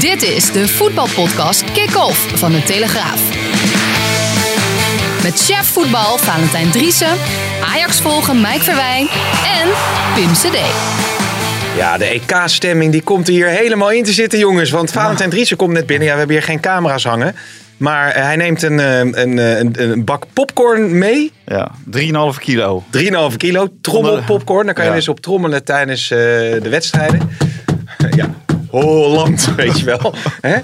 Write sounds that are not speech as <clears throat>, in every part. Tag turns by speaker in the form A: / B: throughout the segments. A: Dit is de voetbalpodcast Kick-Off van de Telegraaf. Met chef voetbal Valentijn Driessen, Ajax volgen Mike Verwijn en Pim CD.
B: Ja, de EK-stemming die komt hier helemaal in te zitten, jongens. Want Valentijn Driessen komt net binnen. Ja, we hebben hier geen camera's hangen. Maar eh, hij neemt een, eh, een, eh, een, een bak popcorn mee.
C: Ja, 3,5 kilo.
B: 3,5 kilo. Trommelpopcorn. Daar kan je
C: Ja.
B: dus op trommelen tijdens eh, de wedstrijden. <laughs> ja, Holland, <laughs> weet je wel. Hè?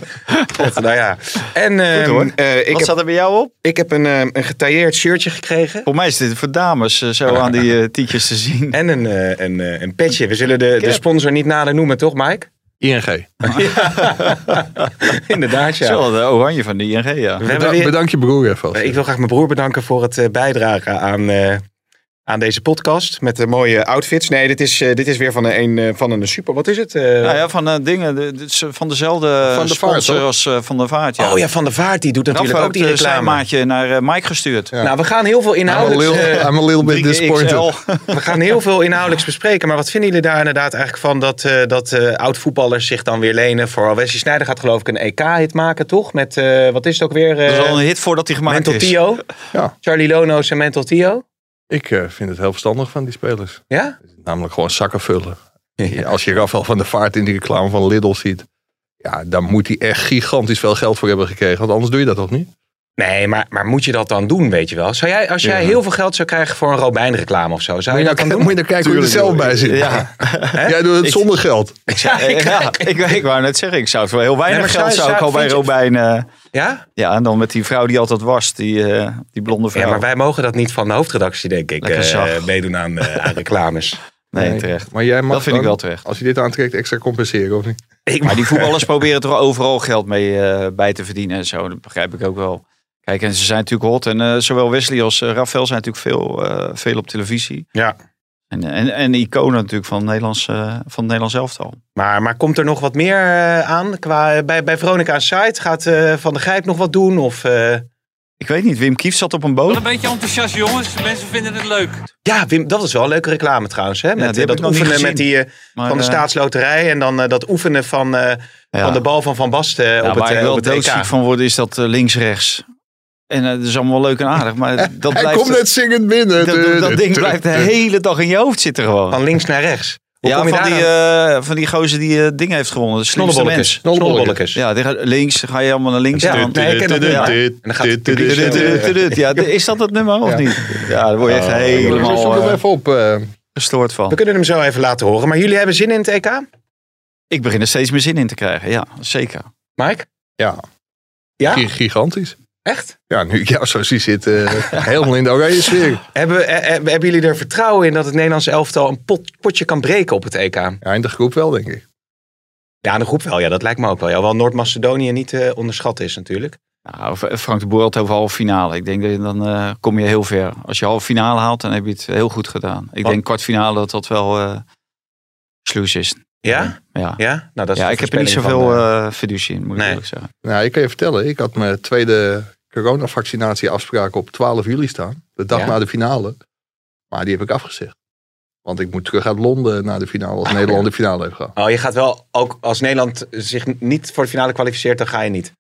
B: God, nou ja. En ehm,
C: hoor.
B: eh, ik,
C: Wat
B: heb,
C: zat er bij jou op?
B: ik heb een, ehm, een getailleerd shirtje gekregen.
C: Voor mij is dit voor dames eh, zo aan die eh, tietjes te zien.
B: En een, eh, een, eh, een petje. We zullen de, de
C: Cap.
B: sponsor niet nader noemen, toch, Mike? <laughs>
D: ING.
B: Inderdaad, ja.
C: <laughs> Zo, de oranje van de ING, ja.
B: We hebben
D: Bedank,
B: weer-
D: bedank je broer even.
B: Eh, Ik wil graag mijn broer bedanken voor het eh, bijdragen aan, eh, aan deze podcast. Met de mooie outfits. Nee, dit is, eh, dit is weer van een, een, eh, van een super. Wat is het? Eh,
C: Nou ja, van eh, dingen, de- dit is van dezelfde
D: Van de Vaart,
C: sponsor
D: toch?
C: als eh, Van der Vaart, ja.
B: Oh ja, Van der Vaart die doet
C: Rafa
B: natuurlijk ook die
C: eh, zijn
B: reclame.
C: maatje naar eh, Mike gestuurd.
D: Ja.
B: Nou, we gaan heel veel
D: I'm a
B: inhoudelijks,
D: little,
B: eh,
D: I'm a little bit
C: 3XL.
D: disappointed.
B: we gaan heel veel inhoudelijks bespreken. Maar wat vinden jullie daar inderdaad eigenlijk van dat, eh, dat eh, oud-voetballers zich dan weer lenen voor Wesley Sneijder gaat geloof ik een EK-hit maken, toch? Met, eh, wat is het ook weer?
C: Dat
B: eh,
C: is al een hit voordat hij gemaakt
B: Mental
C: is.
B: Tio?
D: Ja.
B: Charlie Lono's en Mental Tio?
D: Ik eh, vind het heel verstandig van die spelers.
B: Ja?
D: Namelijk gewoon zakken vullen. Als je Rafael van der Vaart in die reclame van Lidl ziet. Ja, dan moet hij echt gigantisch veel geld voor hebben gekregen. Want anders doe je dat toch niet?
B: Nee, maar, maar moet je dat dan doen, weet je wel? Zou jij, als jij
D: Ja.
B: heel veel geld zou krijgen voor een Robijn-reclame of zo, zou
D: Moet
B: je
D: je,
B: dat
D: nou,
B: dan
C: <laughs>
D: moet je
B: doen?
D: nou kijken hoe je er
C: Tuurlijk,
D: zelf
C: joh.
D: bij zit. <laughs>
C: Ja.
D: Jij doet het zonder geld.
B: <laughs>
C: Eh, ja, ik, ik wou net zeggen, ik zou het wel heel weinig
B: maar
C: geld
B: zou-
C: zou ik
B: zou-
C: al bij
B: vind je-
C: Robijn... eh,
B: Ja?
C: ja, en dan met die vrouw die altijd was, die, eh, die blonde vrouw.
B: Ja, maar wij mogen dat niet van de hoofdredactie, denk ik,
C: Lekker
B: eh,
C: zag.
B: meedoen aan, eh, <laughs> aan reclames.
C: nee, terecht.
D: Maar jij mag
C: Dat vind ik
D: dan,
C: wel terecht.
D: Als je dit aantrekt, extra compenseren of niet?
B: Ik
C: Maar
B: <laughs>
C: die voetballers proberen toch overal geld mee eh, bij te verdienen en zo. Dat begrijp ik ook wel. Kijk, en ze zijn natuurlijk hot. En eh, zowel Wesley als eh, Rafael zijn natuurlijk veel, eh, veel op televisie.
B: Ja.
C: En, en, en iconen natuurlijk van, Nederlands, eh, van het Nederlands elftal.
B: Maar, maar komt er nog wat meer eh, aan? Qua, bij, bij Veronica aan site gaat eh, Van der Grijp nog wat doen? Of, eh,
C: Ik weet niet, Wim Kief zat op een boot.
E: Wel een beetje enthousiast, jongens. Mensen vinden het leuk.
B: Ja, Wim, dat is wel een leuke reclame trouwens. Hè? Met
C: die
B: eh,
C: heb ik
B: dat
C: nog niet
B: oefenen
C: gezien.
B: met die, eh,
C: Maar,
B: van de
C: eh,
B: staatsloterij en dan eh, dat oefenen van, eh,
C: ja.
B: van de bal van Van Basten
C: Ja,
B: op,
C: waar
B: het, eh,
C: ik wel
B: op het EK.
C: doodziek van word, is dat eh, links-rechts. En eh, dat is allemaal leuk en aardig,
B: <laughs>
C: maar dat
D: Hij
C: blijft...
D: komt net zingend binnen.
C: dat, dat, dat ding blijft de hele dag in je hoofd zitten gewoon.
B: Van links naar rechts. Hoe
C: ja,
B: kom je
C: van
B: daar
C: die,
B: aan?
C: eh, van die gozer die eh, dingen heeft gewonnen. De slimste
B: Snollebollekes.
C: mens. Ja, die gaat links dan ga je allemaal naar links.
B: Ja,
C: staan.
B: nee, ik ken dat nummer.
C: Ja.
B: En dan gaat het publiek
C: Tudut, tudut,
B: zo, eh,
C: tudut. Ja, d- is dat het nummer of
D: Ja.
C: niet? Ja, daar word je echt
D: Helemaal. Zoek
C: helemaal
D: hem
C: eh,
D: even op. eh.
C: gestoord
B: We
C: van.
B: kunnen hem zo even laten horen. Maar jullie hebben zin in het EK,
C: Ik begin er steeds meer zin in te krijgen. Ja, zeker.
B: Mike?
D: Ja.
B: Ja?
D: Gi- Gigantisch.
B: Echt?
D: Ja, nu ik jou zo zie zitten, eh, <laughs> helemaal in de oranje sfeer.
B: Hebben, eh, eh, hebben jullie er vertrouwen in dat het Nederlands elftal een pot, potje kan breken op het EK?
D: Ja, in de groep wel, denk ik.
B: Ja, de groep wel. Ja, dat lijkt me ook wel. Ja, hoewel Noord-Macedonië niet eh, onderschat is natuurlijk.
C: Nou, F- Frank de Boer had het over halve finale. Ik denk dat je dan eh, kom je heel ver. Als je halve finale haalt, dan heb je het heel goed gedaan. Ik
B: Wat?
C: denk kwartfinale dat dat wel eh sluis is.
B: Ja?
C: Ja,
B: Ja? Nou, dat is
C: ja
B: de
C: ik heb er niet
B: voorspelling van,
C: zoveel
B: eh,
C: eh fiducie in, moet ik
B: Nee.
C: eerlijk zeggen.
D: Nou, ik kan je vertellen, ik had mijn tweede coronavaccinatieafspraak op 12 juli staan. De dag
B: Ja.
D: na de finale. Maar die heb ik afgezegd. Want ik moet terug uit Londen na de finale, als Nederland de finale heeft gehad.
B: Oh, je gaat wel, ook als Nederland zich niet voor de finale kwalificeert, dan ga je niet.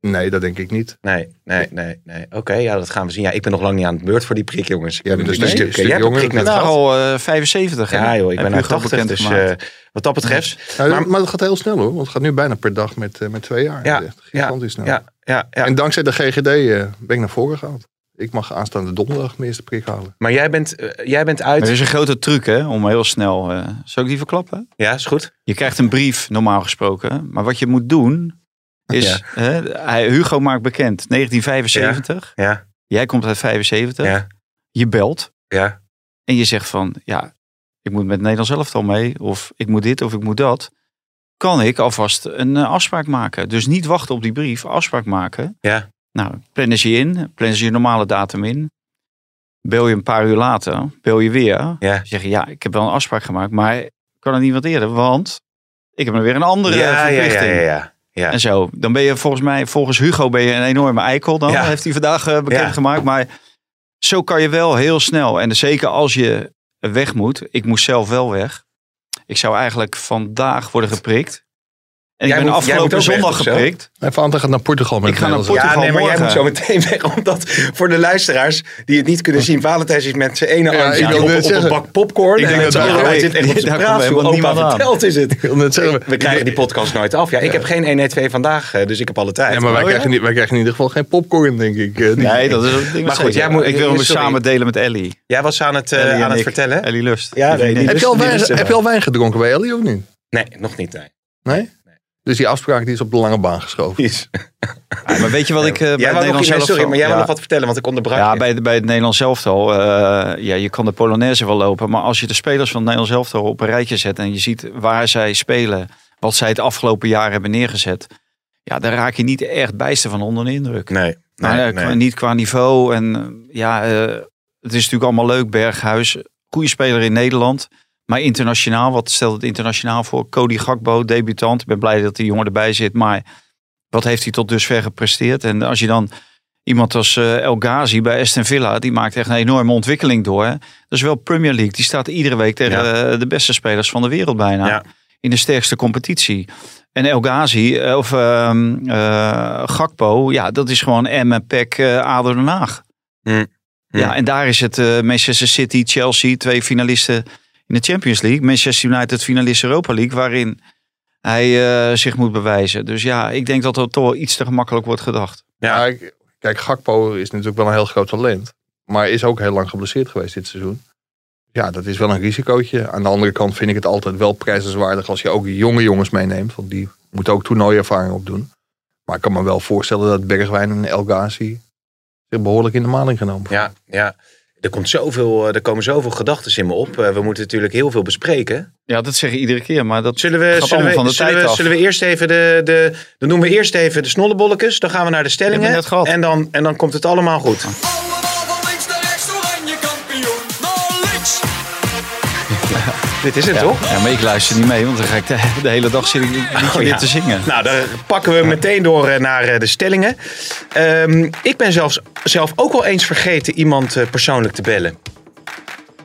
D: Nee, dat denk ik niet.
B: Nee, nee, nee, nee. Oké, ja, dat gaan we zien. Ja, ik ben nog lang niet aan de beurt voor die prik, jongens. Ik
D: Jij
B: ben
D: bent
B: dus
D: dus
B: niet
D: een
B: stuk-
D: stuk
B: Jij hebt de
D: jonger.
B: prik net
C: Nou,
B: gehad.
C: al eh, 75. hè?
B: Ja, joh, ik
C: Heb
B: ben
C: je
B: uit
C: gewoon
B: 80, dus
C: bekendgemaakt. Mm.
B: eh, wat dat betreft.
D: Nou,
B: Maar-
D: maar, dat gaat heel snel hoor, want het gaat nu bijna per dag met, eh, met twee jaar.
B: Ja,
D: Dat is echt gigantisch snel.
B: Ja, ja, ja.
D: En dankzij de GGD eh, ben ik naar voren gehaald. Ik mag aanstaande donderdag mijn eerste prik halen.
B: Maar jij bent, eh, jij bent uit.
C: Maar er is een grote truc hè, om heel snel... eh zal ik die verklappen?
B: Ja, is goed.
C: Je krijgt een brief, normaal gesproken. Maar wat je moet doen, is...
B: Ja.
C: Hè, hij- Hugo maakt bekend, 1975.
B: Ja,
C: Jij komt uit 75.
B: ja,
C: Je belt
B: ja.
C: en je zegt van... Ja, ik moet met Nederland zelf al mee. Of ik moet dit of ik moet dat. kan ik alvast een eh, afspraak maken. Dus niet wachten op die brief, afspraak maken.
B: Ja.
C: Nou, plannen ze je in, plannen ze je normale datum in. Bel je een paar uur later, bel je weer.
B: Ja.
C: Zeg je, ja, ik heb wel een afspraak gemaakt, maar ik kan het niet wat eerder, want ik heb er weer een andere eh,
B: ja, ja,
C: verplichting.
B: ja, ja, ja. ja.
C: En zo. Dan ben je volgens mij, volgens Hugo ben je een enorme eikel dan.
B: Ja.
C: Heeft hij vandaag eh, bekendgemaakt. Maar zo kan je wel heel snel. En zeker als je weg moet. Ik moest zelf wel weg. Ik zou eigenlijk vandaag worden geprikt. En
B: Jij
C: ik ben
B: moet- jij moet
C: afgelopen
B: ook weg,
C: zondag
B: of zo?
C: geprikt.
D: Mijn vader gaat naar Portugal met
C: Ik ga naar
D: Nederlandse-
C: Portugal.
B: Ja, nee, maar jij
C: morgen.
B: moet zo meteen <laughs> weg. Omdat voor de luisteraars die het niet
C: <laughs>
B: kunnen zien... Valentijn is met zijn ene
D: Ja,
B: arm
D: ik
B: zit hij
D: wil
B: op,
D: net
B: op een
D: zeggen.
B: bak popcorn.
D: Ik
B: en
D: denk
B: met
D: dat
B: zijn
D: daar-
B: andere hand zit echt op
C: daar
B: zijn
C: komt
B: praat.
C: helemaal
B: Opa
C: niemand aan.
B: vertelt is
C: <laughs>
B: het.
D: Ik wil net zeggen,
B: We krijgen die podcast nooit af. Ja, ik heb geen 112 vandaag, eh, dus ik heb alle tijd.
D: Ja, maar wij, krijgen niet, wij krijgen in ieder geval geen popcorn, denk ik. eh, die-
C: Nee, dat is een ding.
B: Maar goed, jij moet- eh,
C: ik wil hem
B: sorry.
C: samen delen met Ellie.
B: Jij was aan het, eh,
C: Ellie en
B: aan het
C: ik.
B: vertellen. hè?
C: Ellie Lust.
B: Ja,
C: Die
B: nee,
C: vriendin.
B: die-
D: heb, je al
B: Dus
D: wijn,
B: is er
D: heb je
B: wel.
D: al wijn gedronken bij Ellie of niet?
B: Nee, nog niet. Nee.
D: Nee? Dus die afspraak die is op de lange baan geschoven.
B: Precies.
C: Ja, maar weet je wat ik eh,
B: Jij
C: bij het
B: wou nog,
C: Nederlands
B: iets- nee,
C: zelf...
B: sorry, maar jij wil
C: ja.
B: nog wat vertellen, want ik onderbrak
C: Ja,
B: je.
C: bij, bij het Nederlands elftal. eh ja, je kan de Polonaise wel lopen. Maar als je de spelers van het Nederlands elftal op een rijtje zet. en je ziet waar zij spelen. wat zij het afgelopen jaar hebben neergezet. ja, daar raak je niet echt bijster van onder de indruk.
B: Nee, nee,
C: Maar, eh,
B: nee.
C: qua- Niet qua niveau. En eh, ja, eh, het is natuurlijk allemaal leuk. Berghuis, goede speler in Nederland. Maar internationaal, wat stelt het internationaal voor? Cody Gakbo, debutant. Ik ben blij dat die jongen erbij zit. Maar wat heeft hij tot dusver gepresteerd? En als je dan iemand als eh, El Ghazi bij Aston Villa... die maakt echt een enorme ontwikkeling door. hè. Dat is wel Premier League. Die staat iedere week tegen eh, de beste spelers van de wereld bijna.
B: Ja.
C: In de sterkste competitie. En El Ghazi eh, of ehm, eh, Gakpo, ja, dat is gewoon Emmen, Peck, eh ADO Den Haag.
B: Hmm.
C: Ja, en daar is het eh, Manchester City, Chelsea, twee finalisten in de Champions League. Manchester United finalist Europa League, waarin hij eh, zich moet bewijzen. Dus ja, ik denk dat dat toch wel iets te gemakkelijk wordt gedacht.
B: Ja.
D: Maar ik- kijk, Gakpo is natuurlijk wel een heel groot talent. Maar is ook heel lang geblesseerd geweest dit seizoen. Ja, dat is wel een risicootje. Aan de andere kant vind ik het altijd wel prijzenswaardig als je ook jonge jongens meeneemt. Want die moeten ook toernooiervaring opdoen. Maar ik kan me wel voorstellen dat Bergwijn en El Ghazi zich behoorlijk in de maling genomen.
B: Ja, ja. Er, komt zoveel, eh, er komen zoveel gedachten in me op. Eh, We moeten natuurlijk heel veel bespreken.
C: Ja, dat zeg je iedere keer, maar dat
B: Zullen we,
C: gaat
B: zullen
C: allemaal
B: we,
C: van de
B: zullen
C: tijd
B: we,
C: af.
B: zullen we eerst even de, de. Dan doen we eerst even de snollebolletjes. Dan gaan we naar de stellingen.
C: Hebben we net gehad. Ah.
B: En, dan, en dan komt het allemaal goed.
F: Allemaal van links naar rechts, oranje kampioen. Norwich.
B: Dit is het, toch?
C: Ja, maar ik luister niet mee, want dan ga ik de, de hele dag zit ik een liedje
B: Oh,
C: weer
B: ja.
C: te zingen.
B: Nou, dan pakken we meteen door eh, naar eh, de stellingen. Ehm, ik ben zelfs, zelf ook wel eens vergeten iemand eh, persoonlijk te bellen.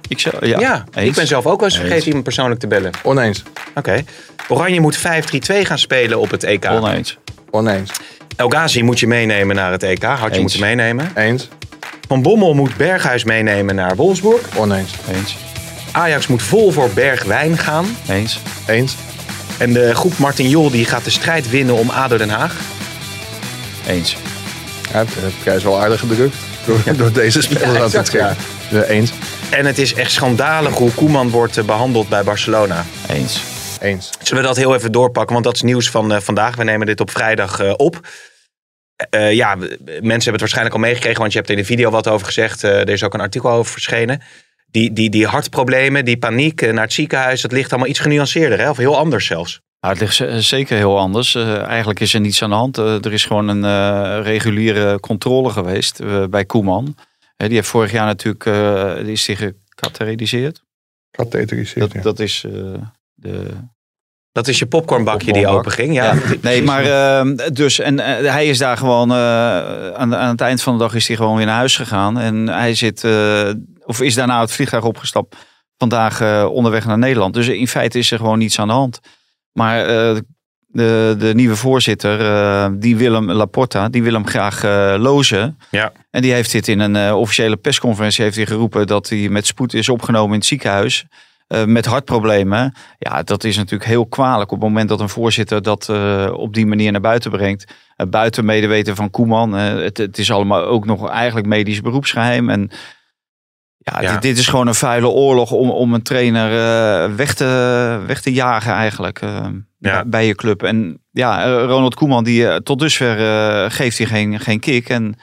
C: ik zou, ja,
B: Ja, ik
C: eens.
B: ben zelf ook wel eens
C: Eens.
B: vergeten iemand persoonlijk te bellen.
D: Oneens.
B: Oké. Oranje moet 5-3-2 gaan spelen op het E EK.
C: oneens.
D: Oneens.
B: El Ghazi moet je meenemen naar het EK. Had je
C: Eens.
B: moeten meenemen.
D: Eens.
B: Van Bommel moet Berghuis meenemen naar Wolfsburg.
D: Oneens.
C: Eens.
B: Ajax moet vol voor Bergwijn gaan.
C: Eens.
D: Eens.
B: En de groep Martin Jol die gaat de strijd winnen om ADO Den Haag.
C: Eens.
D: Ja, de prijs wel aardig gedrukt door, door deze spelers aan te
B: exact,
D: trekken. Ja, Eens.
B: En het is echt schandalig hoe Koeman wordt eh, behandeld bij Barcelona.
C: Eens.
D: Eens.
B: Zullen we dat heel even doorpakken? Want dat is nieuws van eh, vandaag. We nemen dit op vrijdag eh, op. Eh, eh, ja, we- mensen hebben het waarschijnlijk al meegekregen, want je hebt er in de video wat over gezegd. Eh, er is ook een artikel over verschenen. Die, die, die hartproblemen, die paniek eh, naar het ziekenhuis, dat ligt allemaal iets genuanceerder, hè? of heel anders zelfs.
C: Nou, het ligt z- zeker heel anders. Eh, eigenlijk is er niets aan de hand. Eh, er is gewoon een eh, reguliere controle geweest eh, bij Koeman. Hè, die heeft vorig jaar natuurlijk eh, die is die gecatheteriseerd.
D: Katheteriseerd.
C: Dat,
D: ja.
C: dat is eh, de
B: Dat is je popcornbakje die
C: Popcornbak.
B: openging. Ja,
C: Ja.
B: Precies.
C: Nee, maar eh, dus en eh, hij is daar gewoon eh, aan, aan het eind van de dag is hij gewoon weer naar huis gegaan en hij zit eh, of is daarna het vliegtuig opgestapt vandaag eh, onderweg naar Nederland. Dus in feite is er gewoon niets aan de hand. Maar eh, de, de nieuwe voorzitter, eh, die Willem Laporta, die wil hem graag eh, lozen.
B: Ja.
C: En die heeft dit in een eh, officiële persconferentie heeft hij geroepen dat hij met spoed is opgenomen in het ziekenhuis. eh, met hartproblemen. Ja, dat is natuurlijk heel kwalijk op het moment dat een voorzitter dat eh, op die manier naar buiten brengt. Eh, buiten medeweten van Koeman. eh, het, het is allemaal ook nog eigenlijk medisch beroepsgeheim. En ja,
B: Ja.
C: Dit, dit is gewoon een vuile oorlog om, om een trainer eh, weg, te, weg te jagen eigenlijk eh,
B: Ja.
C: bij- bij je club. En ja, eh, Ronald Koeman die eh, tot dusver eh, geeft hij geen, geen kick. En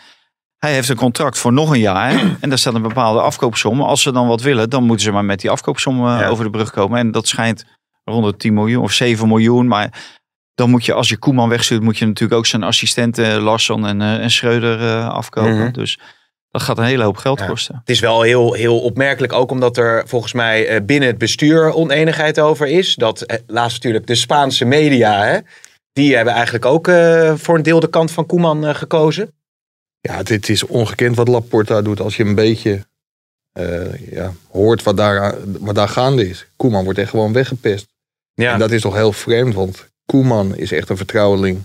C: hij heeft een contract voor nog een
B: <clears throat>
C: jaar. En daar staat een bepaalde afkoopsom. Als ze dan wat willen, dan moeten ze maar met die afkoopsom eh,
B: Ja.
C: over de brug komen. En dat schijnt rond de 10 miljoen of 7 miljoen. Maar dan moet je, als je Koeman wegstuurt, moet je natuurlijk ook zijn assistent eh, Larsson en, eh, en Schreuder eh, afkopen.
B: Mhm.
C: Dus dat gaat een hele hoop geld
B: Ja.
C: kosten.
B: Het is wel heel, heel opmerkelijk, ook omdat er volgens mij eh, binnen het bestuur oneenigheid over is. Dat eh, laatst natuurlijk de Spaanse media, hè, die hebben eigenlijk ook eh, voor een deel de kant van Koeman eh, gekozen.
D: Ja, dit is ongekend wat Laporta doet als je een beetje eh, ja, hoort wat daar, wat daar gaande is. Koeman wordt echt gewoon weggepest.
B: Ja,
D: En dat is toch heel vreemd, want Koeman is echt een vertrouweling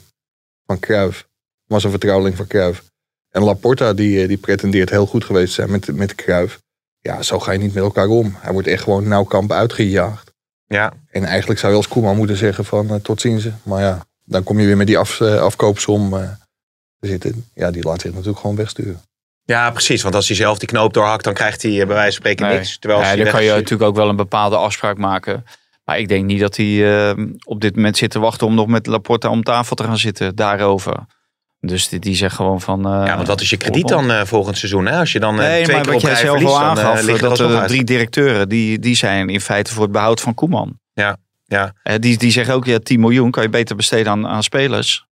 D: van Cruijff. Was een vertrouweling van Cruijff. En Laporta, die, eh, die pretendeert heel goed geweest te zijn met, met Cruijff. Ja, zo ga je niet met elkaar om. Hij wordt echt gewoon nauwkamp uitgejaagd.
B: ja.
D: En eigenlijk zou je als Koeman moeten zeggen van eh, tot ziens. Maar ja, dan kom je weer met die af, eh, afkoopsom eh, te zitten. Ja, die laat zich natuurlijk gewoon wegsturen.
B: ja, precies. Want als hij zelf die knoop doorhakt, dan krijgt hij eh, bij wijze van spreken
C: Nee.
B: niks. Terwijl als
C: ja,
B: hij
C: dan kan je
B: weggestuurd-
C: natuurlijk ook wel een bepaalde afspraak maken. Maar ik denk niet dat hij eh, op dit moment zit te wachten om nog met Laporta om tafel te gaan zitten daarover. Dus die, die zegt gewoon van... eh,
B: Ja, want wat is je krediet
C: voorbond.
B: dan eh, volgend seizoen? Hè? Als je dan eh,
C: Nee,
B: twee
C: maar
B: keer
C: wat
B: op
C: jij
B: rij
C: zelf
B: verliest,
C: al
B: dan eh,
C: aangaf,
B: ligt er
C: dat
B: alsnog
C: de
B: uit.
C: drie directeuren, die, die zijn in feite voor het behoud van Koeman.
B: Ja, ja.
C: Eh, die, die zeggen ook, ja, 10 miljoen kan je beter besteden aan, aan spelers.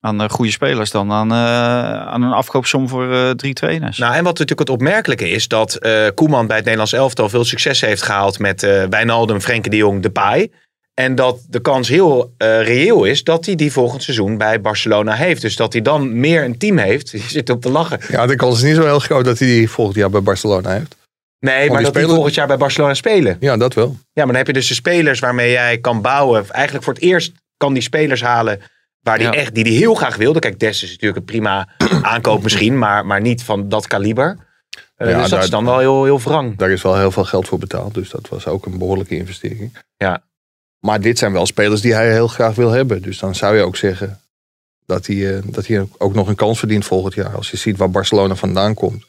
C: Aan eh, goede spelers dan aan, eh, aan een afkoopsom voor eh, drie trainers.
B: Nou, en wat natuurlijk het opmerkelijke is, dat eh, Koeman bij het Nederlands elftal veel succes heeft gehaald met eh Wijnaldum, Frenkie de Jong, Depay. En dat de kans heel eh, reëel is dat hij die volgend seizoen bij Barcelona heeft. Dus dat hij dan meer een team heeft. <laughs> Je zit op te lachen.
D: Ja, de kans is niet zo heel groot dat hij die volgend jaar bij Barcelona heeft.
B: Nee, maar
D: die
B: dat hij
D: spelen-
B: volgend jaar bij Barcelona spelen.
D: Ja, dat wel.
B: Ja, maar dan heb je dus de spelers waarmee jij kan bouwen. Eigenlijk voor het eerst kan die spelers halen waar die
C: Ja.
B: echt, die die heel graag wilde. Kijk, Des is natuurlijk een prima <clears throat> aankoop misschien, maar, maar niet van dat kaliber. Eh,
D: Ja,
B: dus dat
D: daar-
B: is dan wel heel, heel wrang.
D: Daar is wel heel veel geld voor betaald. Dus dat was ook een behoorlijke investering.
B: Ja.
D: Maar dit zijn wel spelers die hij heel graag wil hebben. Dus dan zou je ook zeggen dat hij, eh, dat hij ook nog een kans verdient volgend jaar. Als je ziet waar Barcelona vandaan komt.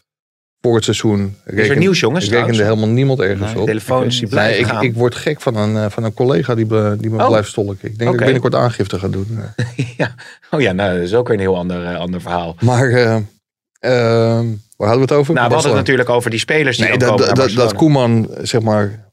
D: Voor het seizoen
B: Is er
D: reken,
B: nieuws, jongens?
D: ik rekende
B: trouwens?
D: helemaal niemand ergens
C: Nee,
D: op.
B: Telefoons die
C: Nee,
D: Nee,
B: blijven
D: ik,
B: gaan.
D: ik word gek van een, eh, van een collega die, be- die me
B: Oh.
D: blijft stolken. Ik denk dat
B: Oké.
D: ik binnenkort aangifte ga doen.
B: <laughs>
D: eh.
B: ja. Oh ja, nou, dat is ook weer een heel ander, eh, ander verhaal.
D: <laughs> Maar eh, eh, waar hadden we het over?
B: Nou, we hadden
D: Barcelona.
B: het natuurlijk over die spelers die
D: Nee,
B: dan
D: dat,
B: komen
D: dat,
B: naar
D: dat, dat
B: Barcelona.
D: Koeman, zeg maar,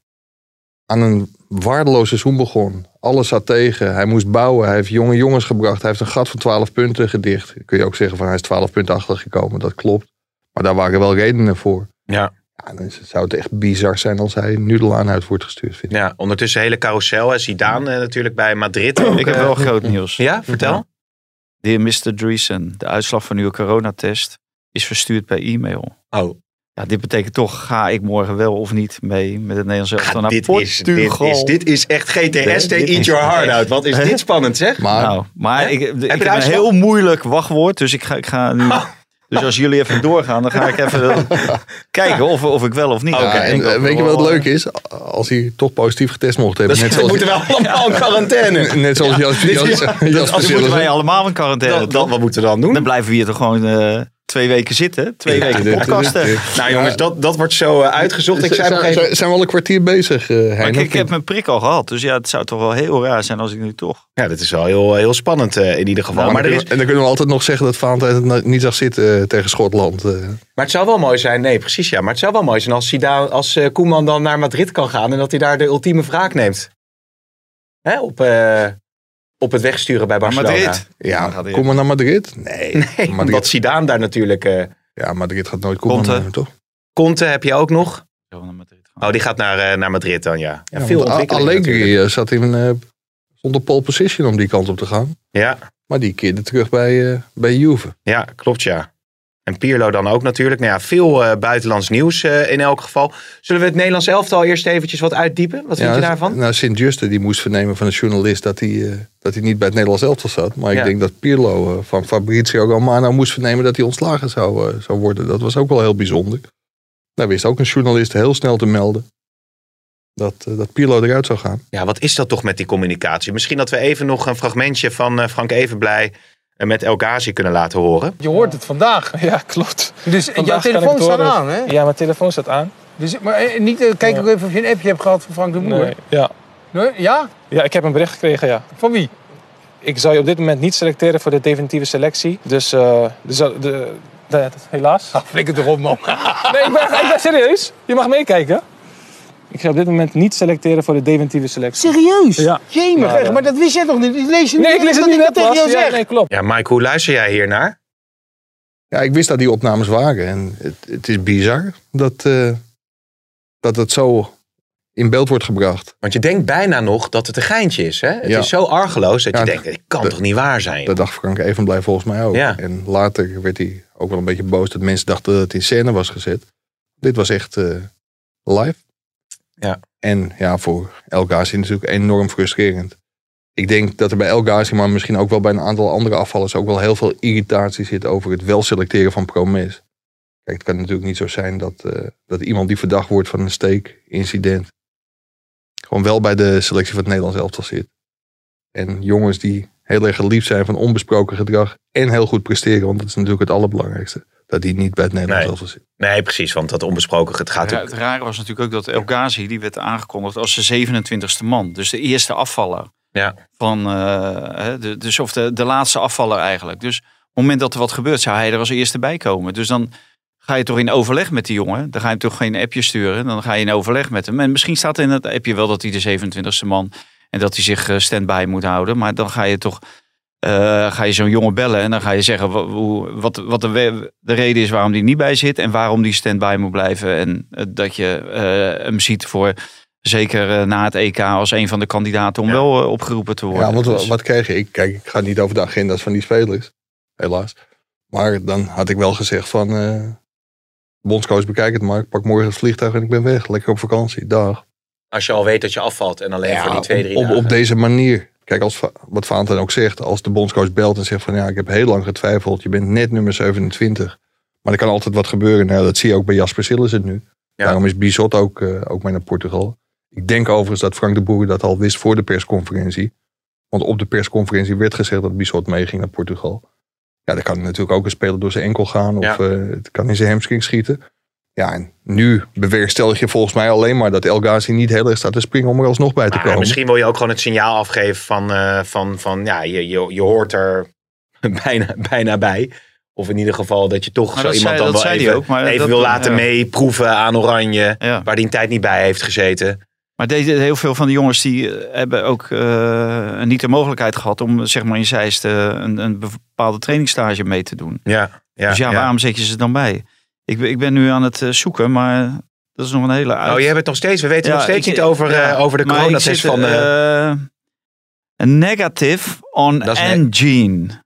D: aan een waardeloos seizoen begon. Alles zat tegen. Hij moest bouwen. Hij heeft jonge jongens gebracht. Hij heeft een gat van 12 punten gedicht. Kun je ook zeggen van hij is 12 punten achtergekomen. Dat klopt. Maar daar waren wel redenen voor.
B: Ja.
D: ja dan is- zou het echt bizar zijn als hij nu de laan uit wordt gestuurd. Vind ik.
B: Ja, ondertussen hele carousel. hè. Zidane eh, natuurlijk bij Madrid.
D: Oh,
B: ook,
C: ik heb
B: eh,
C: wel groot nieuws.
B: Ja, vertel.
C: De heer Mr. Dreesen, de uitslag van uw coronatest is verstuurd per e-mail.
B: Oh,
C: Ja, dit betekent toch, ga ik morgen wel of niet mee met het Nederlands elftal
B: Ah,
C: naar
B: dit is,
C: Portugal?
B: dit, is, dit is echt GTSD
C: Nee, dit
B: Eat
C: is-
B: Your Heart Out. Wat is dit spannend,
D: <laughs>
B: zeg?
D: Maar
C: Nou, maar ik, ik heb,
B: de
C: een
B: uitslag?
C: heel moeilijk wachtwoord, dus ik ga, ik ga nu...
D: Ah.
C: Dus als jullie even doorgaan, dan ga ik
D: <laughs>
C: even kijken of, of ik wel of niet.
B: Oké,
D: ja, en,
C: Ik denk
D: eh,
C: ook
D: weet je
C: wel,
D: wat
C: eh,
D: leuk is? Als hij toch positief getest mocht hebben.
B: Dus
D: net
B: we
D: zoals,
B: moeten
D: <laughs>
B: wel allemaal in quarantaine.
D: net zoals Jas-
B: dit is-
D: Jas- Jasper
C: Dan moeten
D: Sillissen.
C: wij allemaal in quarantaine.
B: Dan, dan, wat moeten we dan doen?
C: Dan blijven we hier toch gewoon eh, twee weken zitten. Twee
D: Ja,
C: weken
D: dit-
C: podcasten.
D: dit-
B: Nou jongens, dat, dat wordt zo eh, uitgezocht. Ik zei nog
D: Zijn-
B: even...
D: zijn- Zijn we al een kwartier bezig, eh,
C: Maar
D: Hein?
C: ik,
D: Of
C: ik heb mijn prik al gehad. Dus ja, het zou toch wel heel raar zijn als ik nu toch...
B: Ja, dat is wel heel, heel spannend eh, in ieder geval.
D: Nou,
B: maar, er
D: dan
B: is,
D: kunnen we- En dan kunnen we altijd nog zeggen dat Valentijn het na- niet zag zitten eh, tegen Schotland. eh.
B: Maar het zou wel mooi zijn, nee precies ja, maar het zou wel mooi zijn als, Zidane, als eh, Koeman dan naar Madrid kan gaan en dat hij daar de ultieme wraak neemt. Hè, op, eh, op het wegsturen bij Barcelona.
C: Dan
D: ja,
C: gaat hij-
D: kom maar naar Madrid. Nee,
B: Nee,
D: Madrid.
B: omdat Zidane daar natuurlijk... eh
D: Ja, Madrid gaat nooit komen,
C: Conte.
D: nemen, toch?
B: Conte heb je ook nog.
C: Zo naar Madrid gaan.
B: Oh, die gaat naar, eh, naar Madrid dan, ja. ja,
D: Ja,
B: veel
D: want A-
B: ontwikkeling natuurlijk.
D: Allegri eh, zat in, eh zonder pole position om die kant op te gaan.
B: Ja,
D: Maar die keerde terug bij, eh, bij Juve.
B: ja, klopt ja. En Pirlo dan ook natuurlijk. Nou ja, veel eh, buitenlands nieuws eh, in elk geval. Zullen we het Nederlands elftal eerst eventjes wat uitdiepen? Wat vind je
D: Ja,
B: daarvan?
D: Nou, Sint-Juste die moest vernemen van een journalist dat hij, eh, dat hij niet bij het Nederlands elftal zat. Maar
B: Ja.
D: ik denk dat Pirlo eh, van Fabrizio Romano moest vernemen dat hij ontslagen zou, eh, zou worden. Dat was ook wel heel bijzonder. Daar wist ook een journalist heel snel te melden dat, eh, dat Pirlo eruit zou gaan.
B: Ja, wat is dat toch met die communicatie? Misschien dat we even nog een fragmentje van eh, Frank Evenblij eh, met El Ghazi kunnen laten horen.
G: Je hoort het vandaag.
H: <laughs> Ja, klopt.
G: Dus
H: Vandaag
G: jouw
H: kan
G: telefoon
H: ik het
G: staat
H: horen.
G: aan, hè?
H: Ja, mijn telefoon staat aan.
G: Dus, maar eh, niet, eh, kijk ook even of je een appje hebt gehad van Frank de Boer.
H: Nee. Ja.
G: Nee? Ja?
H: ja, ik heb een bericht gekregen, ja.
G: Van wie?
H: Ik zou je op dit moment niet selecteren voor de definitieve selectie. Dus, eh, dus eh, de, de, Ah, helaas.
G: <laughs> Flikker erop, man.
H: Nee, ik ben, ik ben serieus. Je mag meekijken. Ik ga op dit moment niet selecteren voor de definitieve selectie.
G: Serieus?
H: Ja.
G: Jemig,
H: Ja,
G: echt,
H: ja.
G: maar dat wist jij toch niet? Ik lees je
H: Nee, ik lees het
G: dat
H: nu
G: ik
H: net
G: dat tegen
H: pas.
G: jou
H: Ja,
G: zeg.
H: nee, klopt.
B: Ja, Mike, hoe luister jij hiernaar?
D: Ja, ik wist dat die opnames waren. En het, het is bizar dat, eh, dat het zo in beeld wordt gebracht.
B: Want je denkt bijna nog dat het een geintje is. Hè? Het
D: Ja.
B: is zo argeloos dat
D: Ja,
B: je
D: d-
B: denkt, dit kan
D: d-
B: toch niet waar zijn?
D: Dat dacht Frank Evenblij volgens mij ook.
B: Ja.
D: En later werd hij ook wel een beetje boos dat mensen dachten dat het in scène was gezet. Dit was echt eh, live.
B: Ja.
D: En ja, voor El Ghazi natuurlijk enorm frustrerend. Ik denk dat er bij El Ghazi, maar misschien ook wel bij een aantal andere afvallers, ook wel heel veel irritatie zit over het wel selecteren van promes. Kijk, het kan natuurlijk niet zo zijn dat, eh, dat iemand die verdacht wordt van een steekincident gewoon wel bij de selectie van het Nederlands elftal zit. En jongens die heel erg geliefd zijn van onbesproken gedrag en heel goed presteren, want dat is natuurlijk het allerbelangrijkste. Dat die niet bij het Nederlands
B: Nee.
D: elftal zit.
B: Nee, precies, want dat onbesproken, het gaat
C: Ra-
B: natuurlijk...
C: Het rare was natuurlijk ook dat El Ghazi, die werd aangekondigd als de 27ste man. Dus de eerste afvaller.
B: Ja.
C: Van, eh, hè, de, dus of de, de laatste afvaller eigenlijk. Dus op het moment dat er wat gebeurt, zou hij er als eerste bij komen. Dus dan ga je toch in overleg met die jongen. Dan ga je hem toch geen appje sturen. Dan ga je in overleg met hem. En misschien staat er in dat appje wel dat hij de 27ste man... en dat hij zich eh, stand-by moet houden. Maar dan ga je toch... eh, ga je zo'n jongen bellen en dan ga je zeggen wa- hoe- wat, wat de, we- de reden is waarom die niet bij zit en waarom die stand-by moet blijven. En eh, dat je eh, hem ziet voor zeker eh, na het EK als een van de kandidaten om
B: Ja.
C: wel eh, opgeroepen te worden.
D: Ja, want wa-
C: Dus-
D: wat kreeg ik? Kijk, ik ga niet over de agenda's van die spelers, helaas. Maar dan had ik wel gezegd van, eh bondscoach bekijk het maar, ik pak morgen het vliegtuig en ik ben weg. Lekker op vakantie, dag.
B: Als je al weet dat je afvalt en alleen voor die twee, drie
D: Ah, op, op, op
B: dagen.
D: deze manier. Kijk, als, Va- wat Vaanten ook zegt, als de bondscoach belt en zegt van ja, ik heb heel lang getwijfeld, je bent net nummer 27. Maar er kan altijd wat gebeuren. Nou, dat zie je ook bij Jasper Sillissen nu.
B: Ja.
D: Daarom is Bizot ook, eh, ook mee naar Portugal. Ik denk overigens dat Frank de Boer dat al wist voor de persconferentie. Want op de persconferentie werd gezegd dat Bizot meeging naar Portugal. Ja, dan kan natuurlijk ook een speler door zijn enkel gaan. Of
B: Ja.
D: eh, het kan in zijn hamstring schieten. Ja, en nu bewerkstellig je volgens mij alleen maar dat El Ghazi niet heel erg staat te springen om er alsnog bij te
B: Maar
D: komen.
B: Ah, misschien wil je ook gewoon het signaal afgeven van, eh, van, van ja, je, je, je hoort er <laughs> bijna, bijna bij. Of in ieder geval dat je toch
C: Maar
B: zo
C: dat
B: iemand
C: zei-
B: dan
C: dat
B: wel
C: zei die
B: even,
C: ook, maar
B: even
C: dat-
B: wil laten
C: ja.
B: meeproeven aan Oranje.
C: Ja.
B: Waar die een tijd niet bij heeft gezeten.
C: Maar deze, heel veel van de jongens die eh, hebben ook eh, niet de mogelijkheid gehad om zeg maar in Zeist eh, een, een bepaalde trainingsstage mee te doen.
B: Ja, ja,
C: dus ja, waarom zet je ze dan bij? Ik, ben- ik ben nu aan het eh, zoeken, maar dat is nog een hele uit.
B: Oh, je hebt het nog steeds. We weten
C: Ja,
B: nog steeds
C: ik-
B: niet over,
C: ja,
B: eh, over de
C: maar ik
B: coronatest
C: zit,
B: van... eh,
C: eh, een negative on
B: Dat is ne-
C: engine.